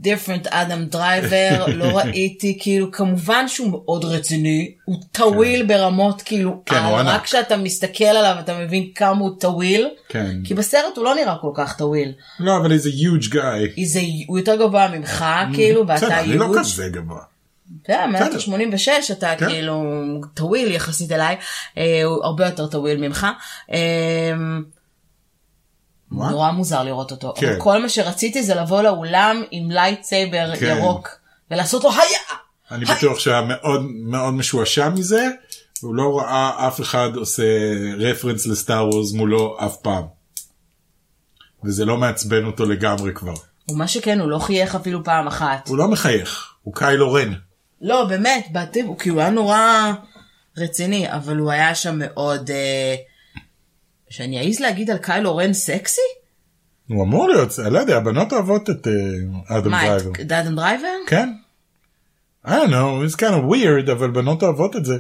[SPEAKER 1] דיפרנט אדם דרייבר, לא ראיתי, כאילו, כמובן שהוא מאוד רציני, הוא טוויל ברמות כאילו,
[SPEAKER 2] כן, הוא
[SPEAKER 1] על,
[SPEAKER 2] ענק.
[SPEAKER 1] רק כשאתה מסתכל עליו אתה מבין כמה הוא טוויל,
[SPEAKER 2] כן
[SPEAKER 1] כי בסרט הוא לא נראה כל כך טוויל,
[SPEAKER 2] לא אבל איזה huge guy.
[SPEAKER 1] איזה- הוא יותר גבוה ממך, כאילו,
[SPEAKER 2] בסדר,
[SPEAKER 1] ואתה
[SPEAKER 2] אני לא
[SPEAKER 1] יהוד.
[SPEAKER 2] כזה גבוה.
[SPEAKER 1] אתה יודע, כן, מאז
[SPEAKER 2] בסדר.
[SPEAKER 1] 86 אתה
[SPEAKER 2] כן.
[SPEAKER 1] כאילו טוויל יחסית אליי, אה, הוא הרבה יותר טוויל ממך. אה,
[SPEAKER 2] מה?
[SPEAKER 1] נורא מוזר לראות אותו.
[SPEAKER 2] כן.
[SPEAKER 1] אבל כל מה שרציתי זה לבוא לאולם עם לייטסייבר
[SPEAKER 2] כן.
[SPEAKER 1] ירוק ולעשות לו היה.
[SPEAKER 2] אני בטוח שהיה מאוד מאוד משועשע מזה. הוא לא ראה אף אחד עושה רפרנס לסטאר וורז מולו אף פעם. וזה לא מעצבן אותו לגמרי כבר.
[SPEAKER 1] ומה שכן, הוא לא חייך אפילו פעם אחת.
[SPEAKER 2] הוא לא מחייך, הוא קיילו רן.
[SPEAKER 1] לא, באמת, בעטיב, הוא כאילו היה נורא רציני, אבל הוא היה שם מאוד... אה, שאני אעז להגיד על קיילו רן סקסי?
[SPEAKER 2] הוא אמור להיות, אני לא יודע, הבנות אוהבות את אה, אדם
[SPEAKER 1] מה,
[SPEAKER 2] דרייבר.
[SPEAKER 1] את דאדן דרייבר?
[SPEAKER 2] כן. I don't know, it's kind of weird, אבל בנות אוהבות את זה.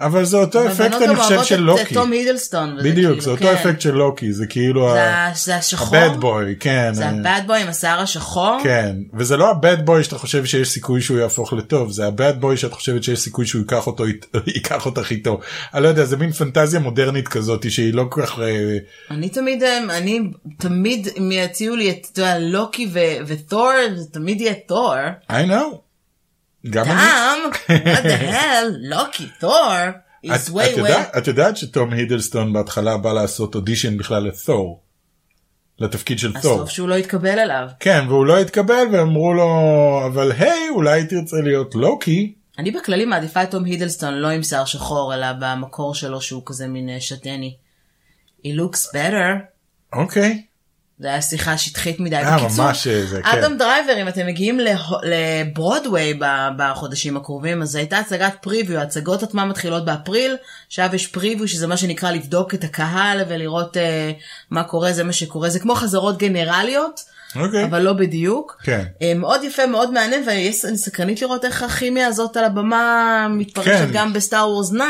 [SPEAKER 2] אבל זה אותו לא, אפקט
[SPEAKER 1] הבנות
[SPEAKER 2] אני
[SPEAKER 1] אוהבות
[SPEAKER 2] חושב
[SPEAKER 1] את-
[SPEAKER 2] של
[SPEAKER 1] את
[SPEAKER 2] לוקי.
[SPEAKER 1] תום הידלסטון. וזה
[SPEAKER 2] בדיוק,
[SPEAKER 1] כאילו,
[SPEAKER 2] זה אותו
[SPEAKER 1] כן.
[SPEAKER 2] אפקט של לוקי, זה כאילו
[SPEAKER 1] זה
[SPEAKER 2] ה-
[SPEAKER 1] ה- זה השחור?
[SPEAKER 2] הבד בוי, כן.
[SPEAKER 1] זה
[SPEAKER 2] אה,
[SPEAKER 1] הבד בוי עם השיער השחור?
[SPEAKER 2] כן, וזה לא הבד בוי שאתה חושב שיש סיכוי שהוא יהפוך לטוב, זה הבד בוי שאת חושבת שיש סיכוי שהוא ייקח, אותו, אית- ייקח אותך איתו. אני לא יודע, זה מין פנטזיה מודרנית כזאת שהיא לא כל כך... אה,
[SPEAKER 1] אני תמיד, אמ, אני תמיד, אם יציעו לי את, אתה יודע, לוקי ו- ותור, זה תמיד יהיה תור.
[SPEAKER 2] I know. גם אני.
[SPEAKER 1] טעם, what the hell, לוקי, תור,
[SPEAKER 2] את,
[SPEAKER 1] is
[SPEAKER 2] את,
[SPEAKER 1] way
[SPEAKER 2] יודע,
[SPEAKER 1] way.
[SPEAKER 2] את יודעת שתום הידלסטון בהתחלה בא לעשות אודישן בכלל לתור. לתפקיד של
[SPEAKER 1] אז
[SPEAKER 2] תור.
[SPEAKER 1] טוב שהוא לא יתקבל אליו.
[SPEAKER 2] כן, והוא לא התקבל ואמרו לו, אבל היי, אולי תרצה להיות לוקי.
[SPEAKER 1] אני בכללי מעדיפה את תום הידלסטון לא עם שיער שחור, אלא במקור שלו שהוא כזה מין אה, שתני. He looks better.
[SPEAKER 2] אוקיי.
[SPEAKER 1] זה היה שיחה שטחית מדי.
[SPEAKER 2] אה, ממש, אה, זה, כן.
[SPEAKER 1] אדם דרייבר, אם אתם מגיעים לה- לברודוויי ב- בחודשים הקרובים, אז הייתה הצגת פריוויו, ההצגות עצמן מתחילות באפריל, עכשיו יש פריוויו, שזה מה שנקרא לבדוק את הקהל ולראות אה, מה קורה, זה מה שקורה, זה כמו חזרות גנרליות.
[SPEAKER 2] אוקיי.
[SPEAKER 1] אבל לא בדיוק.
[SPEAKER 2] כן.
[SPEAKER 1] אה, מאוד יפה, מאוד מהנה, ואני סקרנית לראות איך הכימיה הזאת על הבמה מתפרשת
[SPEAKER 2] כן.
[SPEAKER 1] גם בסטאר וורס 9.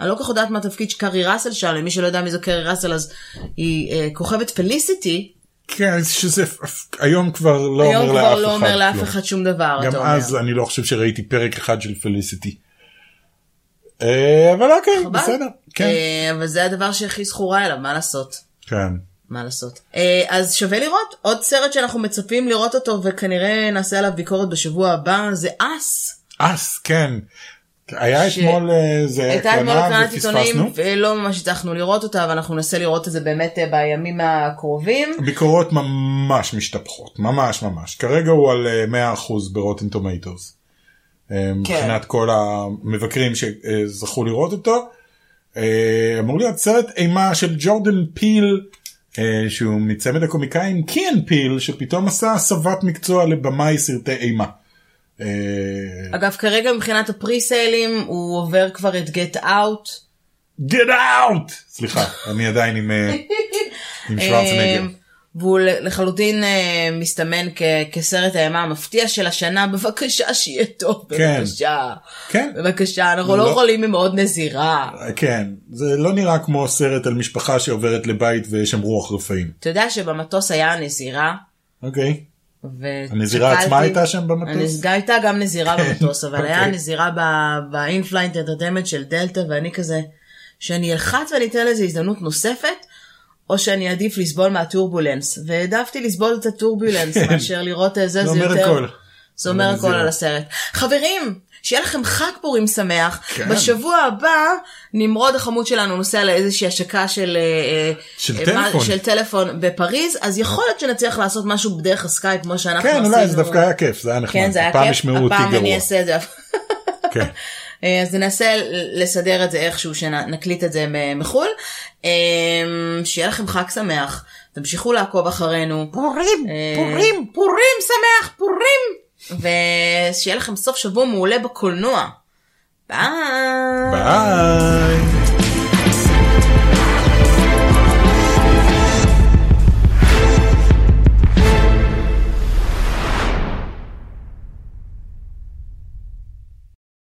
[SPEAKER 1] אני לא כל כך יודעת מה התפקיד שקארי ראסל שם, למי שלא יודע מי זו קארי ראסל, אז היא אה, כוכבת פליסיטי,
[SPEAKER 2] כן, שזה אפ- היום כבר לא
[SPEAKER 1] היום
[SPEAKER 2] אומר לאף אחד.
[SPEAKER 1] כבר לא אומר לאף
[SPEAKER 2] כלום.
[SPEAKER 1] אחד שום דבר,
[SPEAKER 2] גם
[SPEAKER 1] אתה אומר.
[SPEAKER 2] אז אני לא חושב שראיתי פרק אחד של פליסיטי. אה, אבל אוקיי,
[SPEAKER 1] חבל.
[SPEAKER 2] בסדר. כן.
[SPEAKER 1] אה, אבל זה הדבר שהכי זכורה אליו, מה לעשות?
[SPEAKER 2] כן.
[SPEAKER 1] מה לעשות. אה, אז שווה לראות עוד סרט שאנחנו מצפים לראות אותו וכנראה נעשה עליו ביקורת בשבוע הבא זה אס.
[SPEAKER 2] אס, כן. היה
[SPEAKER 1] ש-
[SPEAKER 2] אתמול אה, זה היה
[SPEAKER 1] הייתה אתמול
[SPEAKER 2] הקרנה
[SPEAKER 1] הקרנת
[SPEAKER 2] ופספסנו.
[SPEAKER 1] עיתונאים ולא ממש הצלחנו לראות אותה אבל אנחנו ננסה לראות את זה באמת אה, בימים הקרובים.
[SPEAKER 2] אה. ביקורות ממש משתפכות, ממש ממש. כרגע הוא על אה, 100% ברוטן טומטוס. אה, כן. מבחינת כל המבקרים שזכו לראות אותו. אה, אמור להיות סרט אימה של ג'ורדן פיל, אה, שהוא מצמד הקומיקאים קיאן פיל, שפתאום עשה הסבת מקצוע לבמאי סרטי אימה. אה,
[SPEAKER 1] אגב כרגע מבחינת הפריסיילים הוא עובר כבר את גט אאוט.
[SPEAKER 2] Get out! אה, סליחה, אני עדיין עם אה, עם שוורצנגר.
[SPEAKER 1] אמ, והוא לחלוטין אה, מסתמן כ- כסרט האימה המפתיע של השנה בבקשה שיהיה טוב
[SPEAKER 2] כן.
[SPEAKER 1] בבקשה.
[SPEAKER 2] כן,
[SPEAKER 1] בבקשה אנחנו לא
[SPEAKER 2] לא.
[SPEAKER 1] יכולים עם עוד נזירה.
[SPEAKER 2] כן, זה לא נראה כמו סרט על משפחה שעוברת לבית ויש שם רוח רפאים.
[SPEAKER 1] אתה יודע שבמטוס היה נזירה.
[SPEAKER 2] אוקיי.
[SPEAKER 1] ו...
[SPEAKER 2] הנזירה
[SPEAKER 1] שקלתי-
[SPEAKER 2] עצמה הייתה שם במטוס?
[SPEAKER 1] הנז- גם הייתה גם נזירה במטוס, אבל היה
[SPEAKER 2] אוקיי.
[SPEAKER 1] נזירה ב- ב-inflight entertainment של דלתא, ואני כזה, שאני אלחץ ואני אתן לזה הזדמנות נוספת, או שאני אעדיף לסבול מהטורבולנס. והעדפתי לסבול את הטורבולנס
[SPEAKER 2] כן.
[SPEAKER 1] מאשר לראות איזה,
[SPEAKER 2] זה
[SPEAKER 1] זה
[SPEAKER 2] אומר
[SPEAKER 1] יותר...
[SPEAKER 2] הכל.
[SPEAKER 1] זה אומר הכל
[SPEAKER 2] הנזירה.
[SPEAKER 1] על הסרט. חברים! שיהיה לכם חג פורים שמח.
[SPEAKER 2] כן.
[SPEAKER 1] בשבוע הבא, נמרוד החמוד שלנו נוסע לאיזושהי השקה של, אה, אה,
[SPEAKER 2] של
[SPEAKER 1] אה, מה-
[SPEAKER 2] טלפון.
[SPEAKER 1] של טלפון בפריז, אז יכול להיות שנצליח לעשות משהו דרך הסקייפ כמו שאנחנו
[SPEAKER 2] כן,
[SPEAKER 1] עשינו.
[SPEAKER 2] אולי זה דווקא היה כיף, זה היה נחמד.
[SPEAKER 1] כן, זה היה כיף.
[SPEAKER 2] הפעם ישמעו אותי
[SPEAKER 1] הפעם אני
[SPEAKER 2] גרוע.
[SPEAKER 1] אעשה את זה.
[SPEAKER 2] כן.
[SPEAKER 1] אה, אז ננסה לסדר את זה איכשהו, שנקליט את זה מ- מחו"ל. אה, שיהיה לכם חג שמח, תמשיכו לעקוב אחרינו.
[SPEAKER 2] פורים,
[SPEAKER 1] אה, פורים שמח, פורים! ושיהיה לכם סוף שבוע מעולה בקולנוע. ביי!
[SPEAKER 2] ביי.